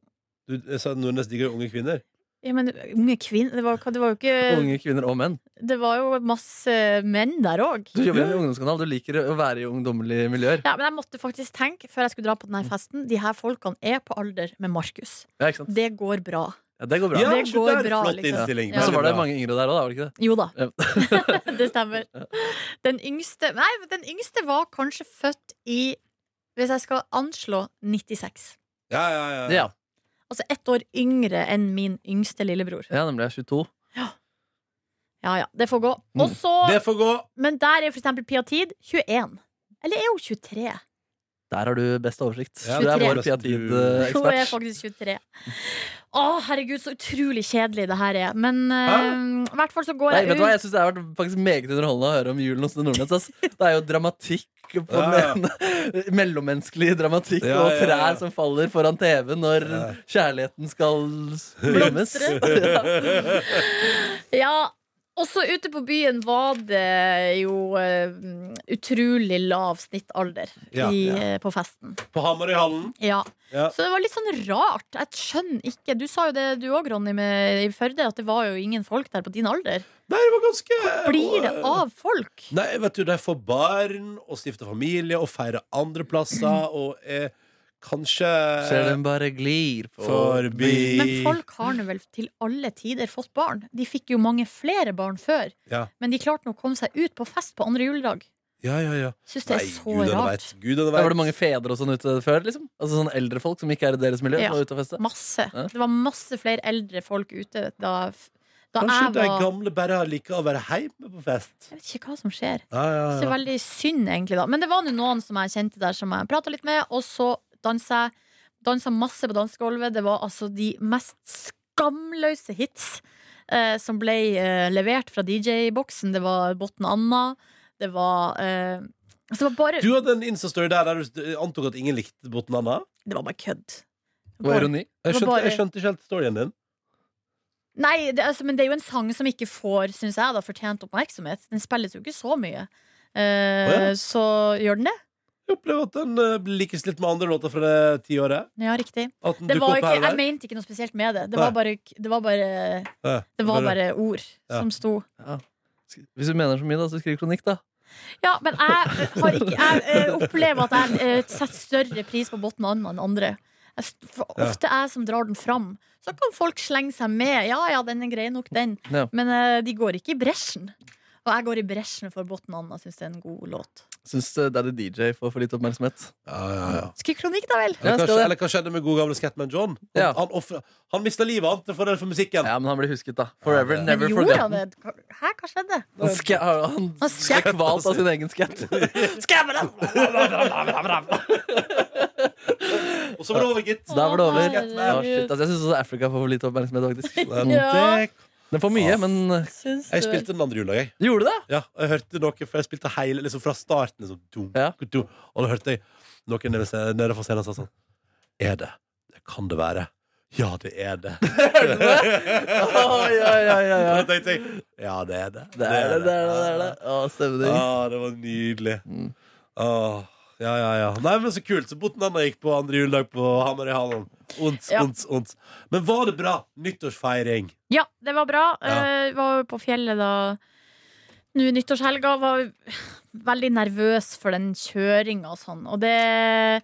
Du jeg sa at Nordnes digger unge kvinner.
Ja, men unge kvinner det var, det var jo ikke
Unge kvinner og menn.
Det var jo masse menn der òg.
Du jobber i en ungdomskanal, du liker å være i ungdommelige miljøer.
Ja, men jeg måtte faktisk tenke før jeg skulle dra på
Mm.
denne festen De her folkene er på alder med Markus.
Ja, ikke sant?
Det går bra.
Ja, det går bra.
Ja. Det
se
går
der,
bra,
Flott
liksom.
innstilling.
Ja.
Men så var
Veldig
det
bra.
mange yngre der òg, var det ikke det?
Jo da.
Ja.
det stemmer. Den yngste Nei, men den yngste var kanskje født i Hvis jeg skal anslå 96.
Ja, ja, ja.
Ja,
Altså ett år yngre enn min yngste lillebror.
ja nemlig. Jeg er 22.
Ja ja, det får gå.
Mm.
Og så
Det får gå.
Men der er for eksempel Pia Tid 21. Eller er hun 23?
Der har du best oversikt.
Ja,
du er
det er
vår eh,
nesten du-
Hun er
piatid-ekspert.
faktisk 23. Å, herregud, så utrolig kjedelig det her er. Men
Hæ?
eh, i hvert fall så går
Nei,
jeg
vet
ut
du hva? Jeg synes Det har vært faktisk meget underholdende å høre om julen hos det nordmenn. ass. Det er jo dramatikk på
Ja, ja.
den ene. Mellommenneskelig dramatikk
Ja,
og
ja,
trær
ja.
som faller foran TV når
Ja.
kjærligheten skal filmes. Ja.
Ja, også ute på byen var det jo eh, utrolig lav snittalder
Ja,
i,
ja.
eh, på festen.
På Hamarøyhallen.
Ja.
Ja.
Så det var litt sånn rart. Jeg skjønner ikke. Du sa jo det du òg, Ronny, med, i Førde, at det var jo ingen folk der på din alder.
Nei, det var ganske eh,
Blir det av folk?
Nei, vet du, de får barn og stifter familie og feirer andre plasser og er kanskje
Ser den bare glir på
forbi
Men folk har nå vel til alle tider fått barn. De fikk jo mange flere barn før,
Ja.
men de klarte nå å komme seg ut på fest på andre juledag.
Ja, ja, ja.
Syns det er så
gudene
rart.
vet. Gudene
Da
vet.
var det mange fedre og sånn ute før? liksom Altså sånn Eldre folk som ikke er i deres miljø?
Ja.
som var ute og feste
Masse.
Ja.
Det var masse flere eldre folk ute da, da
Kanskje
jeg
de
var
gamle bare liker å være hjemme på fest.
Jeg vet ikke hva som skjer.
Ja, ja,
Så det er
ja.
veldig synd, egentlig. da Men det var nå noen som jeg kjente der, som jeg prata litt med, og så dansa jeg dansa masse på dansegulvet. Det var altså de mest skamløse hits eh, som ble eh, levert fra DJ-boksen. Det var Botten Anna, det var eh, altså, det var bare
Du hadde en Insta-story der der du antok at ingen likte Botten Anna.
Det var bare kødd.
Det var ironi.
Jeg
Det var
skjønte,
bare-
jeg skjønte ikke helt storyen din.
Nei, det, altså, men det er jo en sang som ikke får, syns jeg, da, fortjent oppmerksomhet. Den spilles jo ikke så mye. Eh,
Å ja.
Så gjør den det?
Jeg opplever at den eh, likes litt med andre låter fra det tiåret.
Ja, riktig.
At den
Det
dukker
var
opp
ikke,
her
jeg
og der.
mente ikke noe spesielt med det. Det
Nei.
var bare, det var bare,
Ja,
det var bare ord som sto.
Hvis du mener så mye, da, så skriv kronikk, da.
Ja, men jeg, har ikke, jeg eh, opplever at jeg eh, setter større pris på Botten Anna enn andre. Jeg, s- for
Ja.
ofte er jeg som drar den fram. Så kan folk slenge seg med. Ja, ja, den er grei nok, den.
Ja.
Men eh, de går ikke i bresjen. Og jeg går i bresjen for Botten Anna. Syns det er en god låt.
Syns eh, Daddy DJ får for lite oppmerksomhet.
Ja, ja, ja.
Skriv kronikk, da vel!
Eller,
Ja, skal
kanskje,
det.
eller hva skjedde med god gamle Scatman John? Han,
Ja.
han, offer- han mista livet han til fordel for musikken.
Ja, men han blir husket, da. Forever,
Ja, det-
Men
never
gjorde han
forgotten.
det? Hæ, hva skjedde?
Han, ska han
Han
ble
skjæ-
kvalt av sin egen skatt.
Og så var det over, gitt.
Så da var det over.
Herregud.
Ja, shit, altså, jeg syns også Afrika får for lite oppmerksomhet, faktisk.
Men
Ja.
det-
Den får mye, men eh,
Syns
Jeg
du-
spilte den andre jula, jeg.
Gjorde det?
Ja, og jeg hørte noe, for jeg spilte hele, liksom fra starten. Liksom, dum,
Ja.
dum, og da hørte jeg noen nede, ved scenen- nede fra scenen sa sånn Er det? det kan det være. Ja, det er det.
Å, ja, ja, ja, ja.
Da tenkte jeg Ja, det er det.
Det er det, det er det. det, er det. Å, stemning.
Ah, det var nydelig.
Mm.
Ah, ja, ja, ja. Nei, men så kult. Så Botten Anna gikk på andre juledag på Hamarøyhallen. Ondt,
Ja.
ondt, ondt. Men var det bra nyttårsfeiring?
Ja, det var bra.
Ja.
Eh, Vi var jo på fjellet da Nå i nyttårshelga. Var veldig nervøs for den kjøringa og sånn. Og det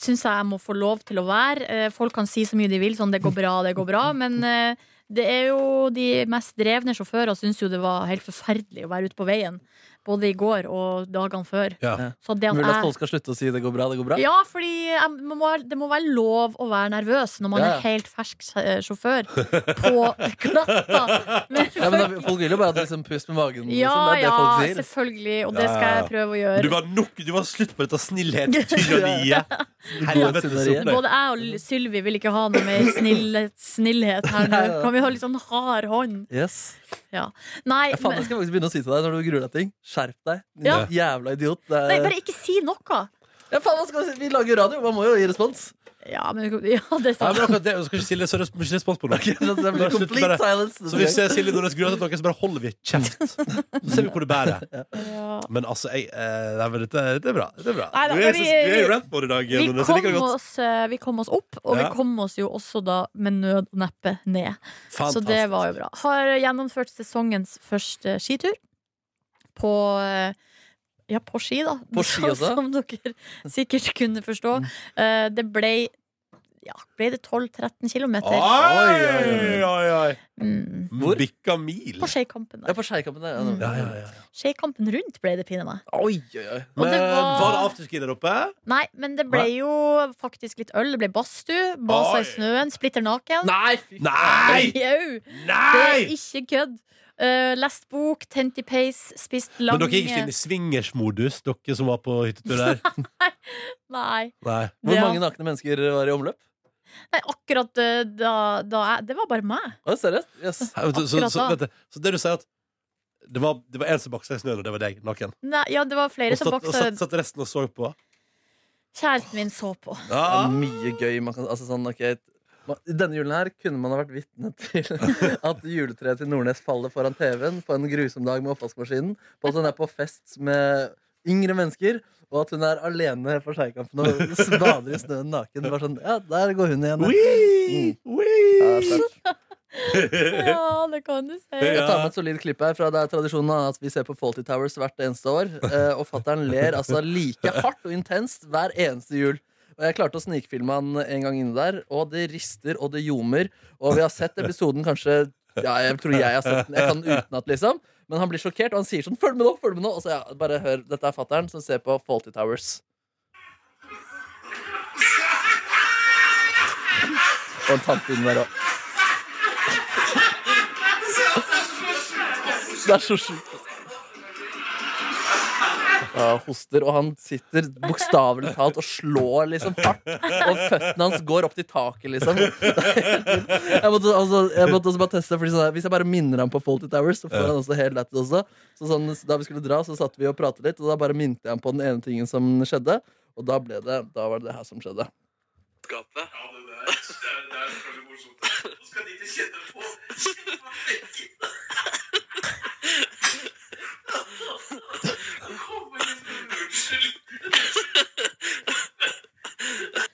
syns jeg jeg må få lov til å være. Eh, Folk kan si så mye de vil, sånn 'det går bra, det går bra', men eh, det er jo de mest drevne sjåførene syns jo det var helt forferdelig å være ute på veien. Både i går og dagene før.
Ja.
Så det at
Mulig at
jeg
folk skal slutte å si 'det går bra', det går bra.
ja, fordi jeg må, det må være lov å være nervøs når man
Ja, ja.
er helt fersk eh, sjåfør på glatta. Men
Ja, men da, folk vil jo bare at du liksom puster med magen. Liksom.
ja,
Det er det
ja,
folk sier.
selvfølgelig, og det skal
Ja, ja, ja.
jeg prøve å
Du
gjøre.
var, nok, du var slutt på dette snillhetstyranniet. Helvetes
Godhetstyranniet.
opplegg.
Både jeg og L- Sylvi vil ikke ha noe mer snillhet, snillhet her nå.
Nei, nei.
Kan vi ha litt sånn hard hånd?
Yes.
Nei,
Ja, faen, altså,
men,
jeg skal faktisk begynne å si til deg når du gruer deg til ting. Skjerp deg, din
Ja.
jævla idiot. Det er...
nei, bare ikke si noe.
ja, faen, hva skal vi, si? vi lager jo radio, man må jo gi respons.
Ja, men, ja det er
Nei, men
sant.
akkurat det, du skal ikke stille så det er ikke respons på noe.
Så det
Bare
blir
slutt med
complete
det.
silence.
Så hvis jeg, Silje Nordnes gruer seg til noe, så bare holder vi kjeft. Så ser vi hvor det bærer.
Ja.
Men altså, jeg, eh, nei, men dette, dette er bra. Dette er bra.
Nei da,
du
men
er,
vi-
så- du er i rant-mode i dag.
Vi
Nordnes. Jeg liker det
kom,
godt.
oss, eh, vi kom oss opp, og vi
Ja.
kom oss jo også da med nød og neppe ned. Så
Fantastisk.
det var jo bra. Har gjennomført sesongens første skitur. På eh, Ja, på ski, da.
På ski
Som-
også?
Som dere sikkert kunne forstå.
Mm.
Eh, Det ble ja, ble det 12-13 km
Oi,
Oi,
oi, oi, oi.
mm.
Hvor?
Bikka mil.
på Skeikampen.
Ja,
der.
på skeikampen der.
Mm.
Ja, ja, ja.
Skeikampen rundt ble det, pinadø.
Oi, oi, oi.
Og
Men
det var-
var det afterski der oppe?
Nei, men det ble
Nei.
jo faktisk litt øl. Det ble badstue, basa
Oi.
i snøen, splitter naken.
Nei, fy
Nei!
Jau, det er
Nei!
ikke kødd. Eh, lest bok, tent i peis, spist lange
Men dere gikk ikke inn i swingers-modus, dere som var på hyttetur der?
Nei.
Nei.
Hvor
Ja.
mange nakne mennesker var i omløp?
Nei, akkurat eh, da, da jeg Det var bare meg.
Å, seriøst? Yes.
Så, så,
Akkurat
så,
da.
vent, litt. så det du sier, at det var, det var en som bakte seg i snøen, og det var deg, naken.
Nei, ja, det var flere
Og
som
satt, og
boksa.
satt, satt resten og så på.
Kjæresten min så på.
Det
Ah.
er
Mm.
mye gøy man kan Altså sånn, ok man- denne julen her kunne man ha vært vitne til at juletreet til Nordnes faller foran TV-en på en grusom dag med oppvaskmaskinen, på at hun er på fest med yngre mennesker, og at hun er alene på Skeikampen og s- bader i snøen naken. Bare sånn, ja, der går hun igjen.
Ui, Mm.
Ja,
ui.
sterkt.
Ja, det kan du si.
Ja.
Jeg tar med et solid klipp her fra det er tradisjonen da, at vi ser på Faulty Towers hvert eneste år. eh, Og fattern ler altså like hardt og intenst hver eneste jul. Og Jeg klarte å snikfilme han en gang inne der, og det rister og det ljomer. Og vi har sett episoden kanskje Ja, jeg tror jeg har sett den. Jeg kan den utenat, liksom. Men han blir sjokkert, og han sier sånn 'følg med nå', følg med nå. Og så ja, bare hør, dette er fattern som ser på Faulty Towers. Og en tante inni der òg. Det er så sjukt. altså. Ja, hoster, og han sitter bokstavelig talt og slår liksom hardt. Og føttene hans går opp til taket, liksom. Det er helt vilt. Jeg måtte, altså, jeg måtte også bare teste, fordi sånn, her, Hvis jeg bare minner ham på Faulty Towers, så får han også helt lættis også. Så sånn, da vi skulle dra, så satt vi og pratet litt, og da bare minte jeg ham på den ene tingen som skjedde. Og da ble det Da var det det her som skjedde. Ja, ja,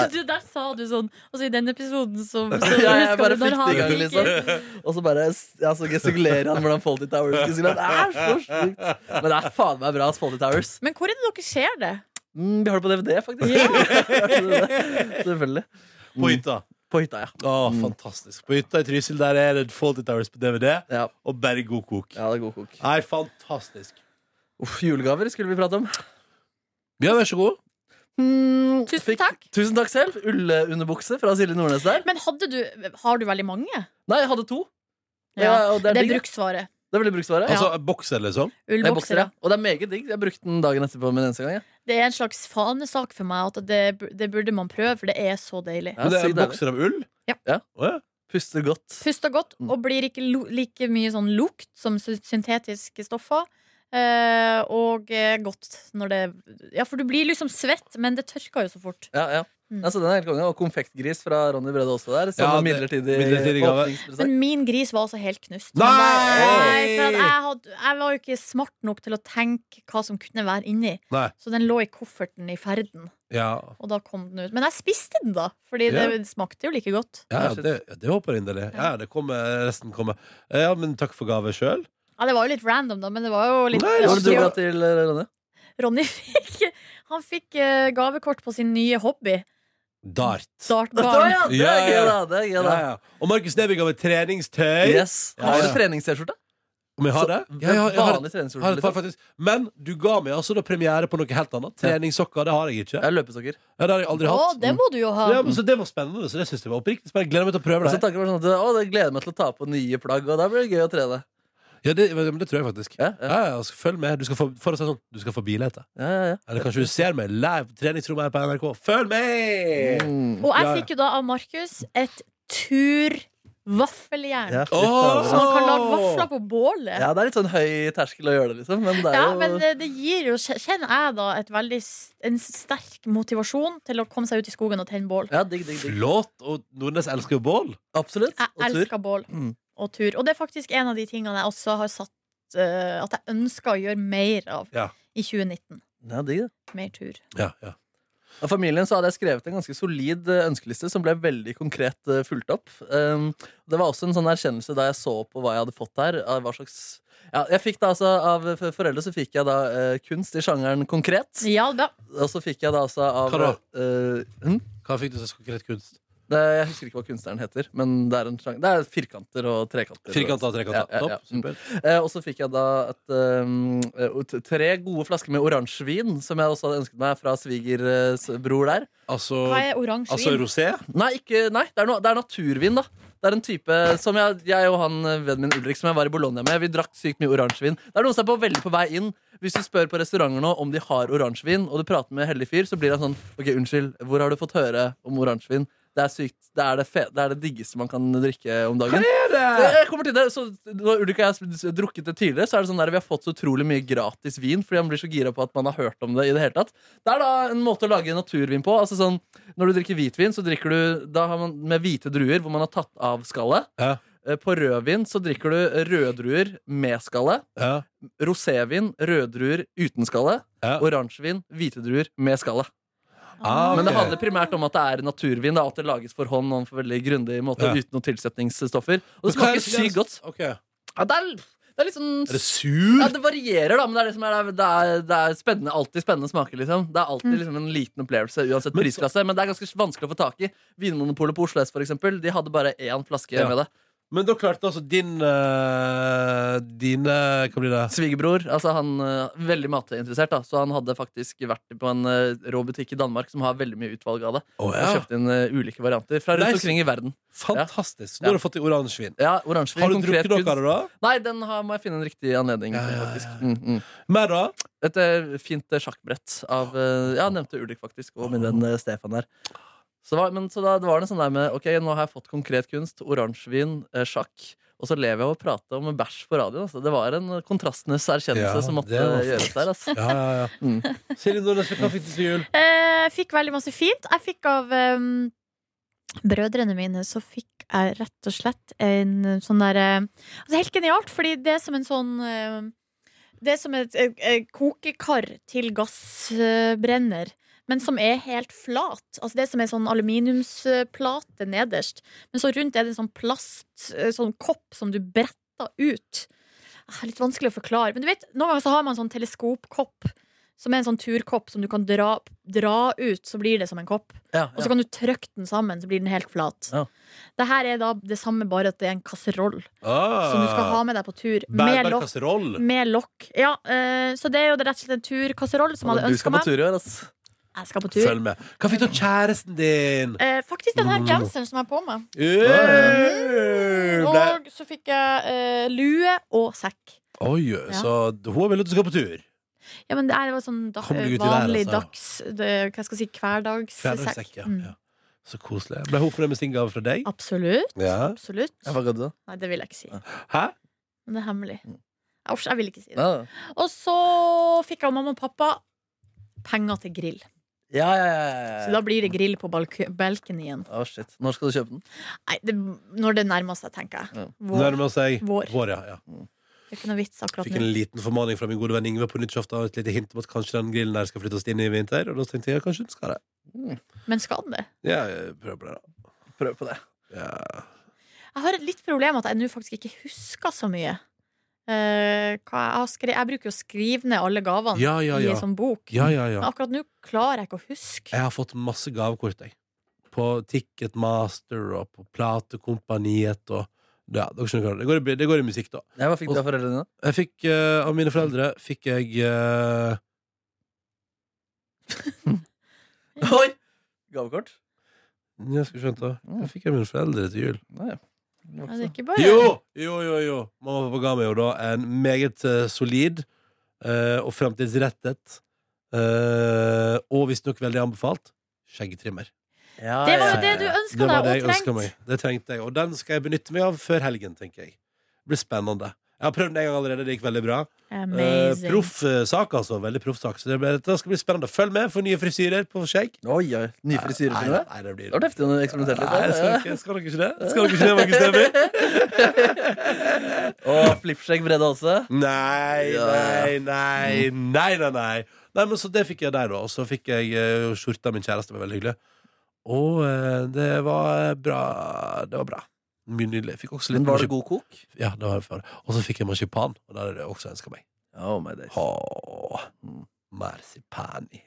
nei.
Du, der sa du sånn Altså, i den episoden som så,
Ja, jeg
husker
bare
du når
fikk det i
han
gang,
gikk
liksom.
inn-
Og så bare ja, så gestikulerer han hvordan Faulty Towers gestikulerer. Det er så sjukt! Men det er faen meg bra, ass, Faulty Towers.
Men hvor er det dere ser det?
Mm, vi har det på DVD, faktisk. Selvfølgelig.
På hytta.
På hytta, ja.
Å, fantastisk. På hytta i Trysil der er det Faulty Towers på DVD,
Ja,
og bare god kok.
ja det er god kok.
Nei, fantastisk.
Uff, julegaver skulle vi prate om.
Ja, vær så god.
Mm,
Tusen
fikk-
takk.
Tusen takk selv. Ullunderbukse fra Silje Nordnes der.
Men hadde du Har du veldig mange?
Nei, jeg hadde to.
Ja,
og
Det
det, er
er
digg.
bruksvare.
det er veldig bruksvare.
Altså, bokser, liksom?
Det er bokser,
Ullbokser.
ja. Og det er meget digg. Jeg brukte den dagen etterpå min eneste gang. Ja.
Det er en slags fanesak for meg at det, det burde man prøve, for det er så deilig.
Ja,
Men det er
sykt deilig.
bokser av ull?
Ja.
Ja.
Å, ja.
Puster godt.
Puster godt
Mm.
og blir ikke lu- like mye sånn lukt som sy- syntetiske stoffer. Eh, og eh, godt når det Ja, for du blir liksom svett, men det tørker jo så fort.
Ja, ja.
Mm.
Altså, den er helt konge. Og konfektgris fra Ronny Brede også der. Som
Ja,
en
det-
midlertidig,
midlertidig gave.
åpningspresang.
Men min gris var altså helt knust.
Nei!
Nei, for at jeg, hadde, jeg var jo ikke smart nok til å tenke hva som kunne være inni.
Nei.
Så den lå i kofferten i ferden,
Ja.
og da kom den ut. Men jeg spiste den, da, Fordi det smakte jo like godt.
Ja, ja, det, ja, det håper jeg inderlig. Ja, det kommer, resten kommer. Eh, Ja, men takk for gave sjøl.
Ja, Det var jo litt random, da, men det var jo litt
Nei, altså,
Hva var det du
Ja.
ga til eh, Ronny?
Ronny fikk, han fikk eh, gavekort på sin nye hobby,
Dart.
Å,
dartbarn.
ja, det
Ja,
er gøy,
ja.
da. Det er gøy,
Ja,
da.
ja. Og Markus Neby ga meg treningstøy.
Yes. Har
Ja,
du
ja.
treningst-T-skjorte?
Om jeg har det? Ja, ja, jeg har,
Vanlig
jeg har et
treningsskjorte.
par,
Liksom.
faktisk. Men du ga meg altså da premiere på noe helt annet. Treningssokker, det har jeg ikke.
Jeg har løpesokker.
Ja, det har jeg aldri
Å,
hatt. Mm.
det må du jo ha.
Ja, men, så det var spennende. Så det synes jeg var oppriktig spennende. Gleder meg til å
Og
prøve
så
det.
tanken var sånn at Å, det gleder jeg meg til å ta på nye plagg, og da blir det gøy å trene.
Ja, det, men det tror jeg faktisk.
Ja, ja,
Ja, ja, altså, følg med. Du skal få, for å si det sånn, du skal få bilete.
ja, ja,
Eller kanskje du ser meg live på treningsrommet her på NRK. Følg
ja.
med!
Mm.
Og jeg
Ja, ja.
fikk jo da av Markus et turvaffeljern.
Ja, fy
Åh!
Så
fader.
man kan lage vafler på bålet.
ja, det er litt sånn høy terskel å gjøre det, liksom. Men det er
Ja,
jo
men eh, det, det gir jo, kjenner jeg da, et veldig, s- en sterk motivasjon til å komme seg ut i skogen og tenne bål.
Ja, digg, digg, digg.
Flott. Og Nordnes elsker jo bål.
Absolutt.
Jeg
Og tur.
elsker bål
Mm.
og tur. Og det er faktisk en av de tingene jeg også har satt eh, at jeg ønsker å gjøre mer av
Ja.
i 2019.
Ja, digg, det.
Mer tur.
Ja, ja.
Av familien så hadde jeg skrevet en ganske solid eh, ønskeliste som ble veldig konkret eh, fulgt opp. Um, Det var også en sånn erkjennelse da jeg så på hva jeg hadde fått her. av Hva slags ja, jeg fikk da altså Av f- foreldre så fikk jeg da eh, kunst i sjangeren konkret.
Ja da.
Og så fikk jeg da altså av
Hva da?
eh, hm?
Hva fikk du som konkret kunst?
det, Jeg husker ikke hva kunstneren heter, men det er, en sjang, det er firkanter og trekanter.
Firkanta og trekanta.
Ja, ja, ja.
Topp. Super.
Eh, Og så fikk jeg da et, um, eh, t- tre gode flasker med oransjevin, som jeg også hadde ønsket meg fra svigerbror der.
Altså,
Hva er oransje
altså
vin?
rosé?
Nei, ikke, nei det, er no, det er naturvin, da. Det er en type som jeg, jeg og han eh, vennen min Ulrik som jeg var i Bologna med, vi drakk sykt mye oransjevin. Det er noen som er på, veldig på vei inn. Hvis du spør på restauranter nå om de har oransjevin, og du prater med en heldig fyr, så blir han sånn Ok, unnskyld, hvor har du fått høre om oransjevin? Det er sykt. Det er det, fe det er det diggeste man kan drikke om dagen. Det- Jeg kommer til det, så Når Ulrik og jeg har s- drukket det tidligere, så er det sånn der vi har fått så utrolig mye gratis vin fordi han blir så gira på at man har hørt om det. i Det hele tatt Det er da en måte å lage naturvin på. Altså sånn, Når du drikker hvitvin, så drikker du Da har man med hvite druer hvor man har tatt av skallet.
Ja.
Eh, På rødvin så drikker du røde druer med skallet.
Ja.
Rosévin, røde druer uten skallet.
Ja.
Oransjevin, hvite druer med skallet.
Ah,
Men det
ok.
handler primært om at det er naturvin. Det er alt det lages for hånd og en veldig grundig måte
Ja.
uten noen tilsetningsstoffer. Og det altså.
Men hva er
smaker sykt godt.
Ok. Er
Ja, det er, det er litt sånn
det sur?
Altså,
ja, Det varierer, da, men det er, det som er, det er, det er spennende, alltid spennende smaker. liksom Det er alltid liksom, en liten opplevelse uansett
Men så-
prisklasse. Men det er ganske vanskelig å få tak i. Vinmonopolet på Oslo S for eksempel, de hadde bare én flaske
Ja.
med det.
Men da klarte altså din eh, Dine Hva blir det?
Svigerbror altså han eh, veldig matinteressert, da så han hadde faktisk vært på en eh, rå butikk i Danmark som har veldig mye utvalg av det.
Å,
Og kjøpt inn eh, ulike varianter fra rundt
Nice.
omkring i verden.
Fantastisk.
Ja.
Nå har du fått i oransjevin.
Ja, oransjevin,
Har du
konkret
drukket noe
kunst.
av det, da?
Nei, den har, må jeg finne en riktig anledning
Ja,
til,
ja, ja,
faktisk.
ja.
Mm, mm.
Mer, da?
Et eh, fint eh, sjakkbrett av eh, Ja, nevnte Ulrik faktisk, og min venn eh, Stefan der. Så, var, men, så da det var det sånn der med Ok, nå har jeg fått konkret kunst, oransjevin, eh, sjakk. Og så lever jeg av å prate om bæsj på radioen. Altså. Det var en eh, kontrastenes erkjennelse
Ja,
som måtte
det var
eh, gjøres der. Altså.
Ja, ja, ja.
Mm.
Silje Nordnes, hva fikk du til jul?
Eh, fikk veldig masse fint. Jeg fikk av em, brødrene mine så fikk jeg rett og slett en sånn derre Altså helt genialt, fordi det er som en sånn em, Det er som et eh, eh, kokekar til gassbrenner. Men som er helt flat. Altså Det som er sånn aluminiumsplate nederst. Men så rundt er det en sånn plast, eh, sånn kopp som du bretter ut. Det er litt vanskelig å forklare. Men du vet, noen ganger så har man sånn teleskopkopp. Som er en sånn turkopp som du kan dra, dra ut, så blir det som en kopp.
Ja,
Og så
ja.
kan du trykke den sammen, så blir den helt flat.
Ja.
Det her er da det samme, bare at det er en kasseroll
Ah,
som du skal ha Mm, med deg på tur. Med
Bærbar
lokk.
kasseroll.
Med lokk. Ja, eh, så det er jo rett og slett en turkasseroll som jeg hadde
Du
ønska
skal på
meg.
tur i år, altså.
Jeg skal på tur.
Følg Mm. med. Hva fikk du av kjæresten din?
Eh, faktisk den her genseren som jeg har på meg.
Øh, Ble...
Og så fikk jeg eh, lue og sekk.
Oi, så hun vil at du skal på tur.
Ja, men det er jo sånn da,
Kom deg ut i været,
vanlig
altså.
dags... Det, hva skal jeg si? Hverdagssekk.
Hverdagssekk, ja.
Mm.
ja. Så koselig. Ble hun fornøyd med sin gave fra deg?
Absolutt.
Ja.
Absolutt.
Ja, hva ga du, da?
Nei, det vil jeg ikke si.
Hæ?
Men det er hemmelig.
Mm.
Jeg ors- jeg vil ikke si det.
Ja,
Og så fikk jeg og mamma og pappa penger til grill.
ja, ja.
Så
ja,
da
ja.
blir det grill på balk- balken igjen.
Å, shit. Når skal du kjøpe den?
Nei, det, når det nærmer seg, tenker jeg.
Ja.
Vår.
Nærmer seg
Vår.
vår ja, ja.
Det er ikke noe vits akkurat
Fikk
nå.
en liten formaning fra min gode venn Ingve på nyttårsaften. og Et lite hint om at kanskje den grillen der skal flyttes inn i vinter. Og da tenkte jeg kanskje den skal det.
Men skal den det?
Ja, jeg prøver på det, da.
Prøv på det.
Ja.
Jeg har et litt problem at jeg nå faktisk ikke husker så mye. Eh, hva jeg, har skre jeg bruker jo å skrive ned alle gavene
Ja, ja,
i
ja.
en sånn bok.
ja, ja,
Men
ja.
akkurat nå klarer jeg ikke å huske.
Jeg har fått masse gavekort, jeg. På Ticketmaster og på Platekompaniet og ja, dere skjønner hva det er. det går. i- Det går i musikk, da.
Ja, hva fikk du av foreldrene dine?
Jeg fikk, eh, Av mine foreldre fikk jeg eh,
Oi! Gavekort?
Jeg skal skjønne det. Hva fikk jeg av mine foreldre til jul?
Nei.
Ja, det er ikke bare
Jo, jo, jo, jo. Mamma og pappa ga meg jo da en meget eh, solid eh, og fremtidsrettet uh, og visstnok veldig anbefalt skjeggetrimmer.
Ja,
Det var
ja,
jo det
ja,
du
ja.
ønska deg og
ønsket
trengte.
meg. Det trengte jeg, og den skal jeg benytte meg av før helgen, tenker jeg. Det blir spennende. Jeg har prøvd den en gang allerede, det gikk veldig bra. Eh,
Amazing.
Proff eh, sak, altså. Veldig proff sak. Så det, blir- dette skal bli spennende. Følg med for nye frisyrer på skjegg.
Oi, oi. Ny frisyre
Nei,
til deg?
Nei, det
Det var
blir
heftig om du eksperimenterte litt.
Nei, skal,
da.
ikke, skal dere ikke det? Skal dere ikke det, Markus Neby?
Og flippskjegg bredde også.
Nei,
Ja.
nei, nei, nei, nei, nei. Nei, men Så det fikk jeg der, da. Og så fikk jeg eh, skjorta av min kjæreste. Det var veldig hyggelig. Og eh, det var bra. Det var bra. Mye nydelig. Fikk også litt
Men var det
marsip-
god kok?
Ja, det var det for. Og så fikk jeg marsipan, og der er det jeg også ønska meg.
Oh my days.
Åh,
Mm.
marsipani.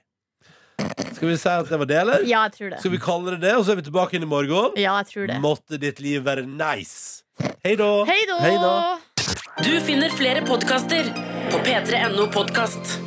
Skal vi si at det var det, eller?
Ja, jeg tror det.
Skal vi kalle det det, og så er vi tilbake inn i morgen?
Ja, jeg tror det.
Måtte ditt liv være nice. Hei da.
Hei da!
Hei da.
Du finner flere podkaster på p3.no podkast.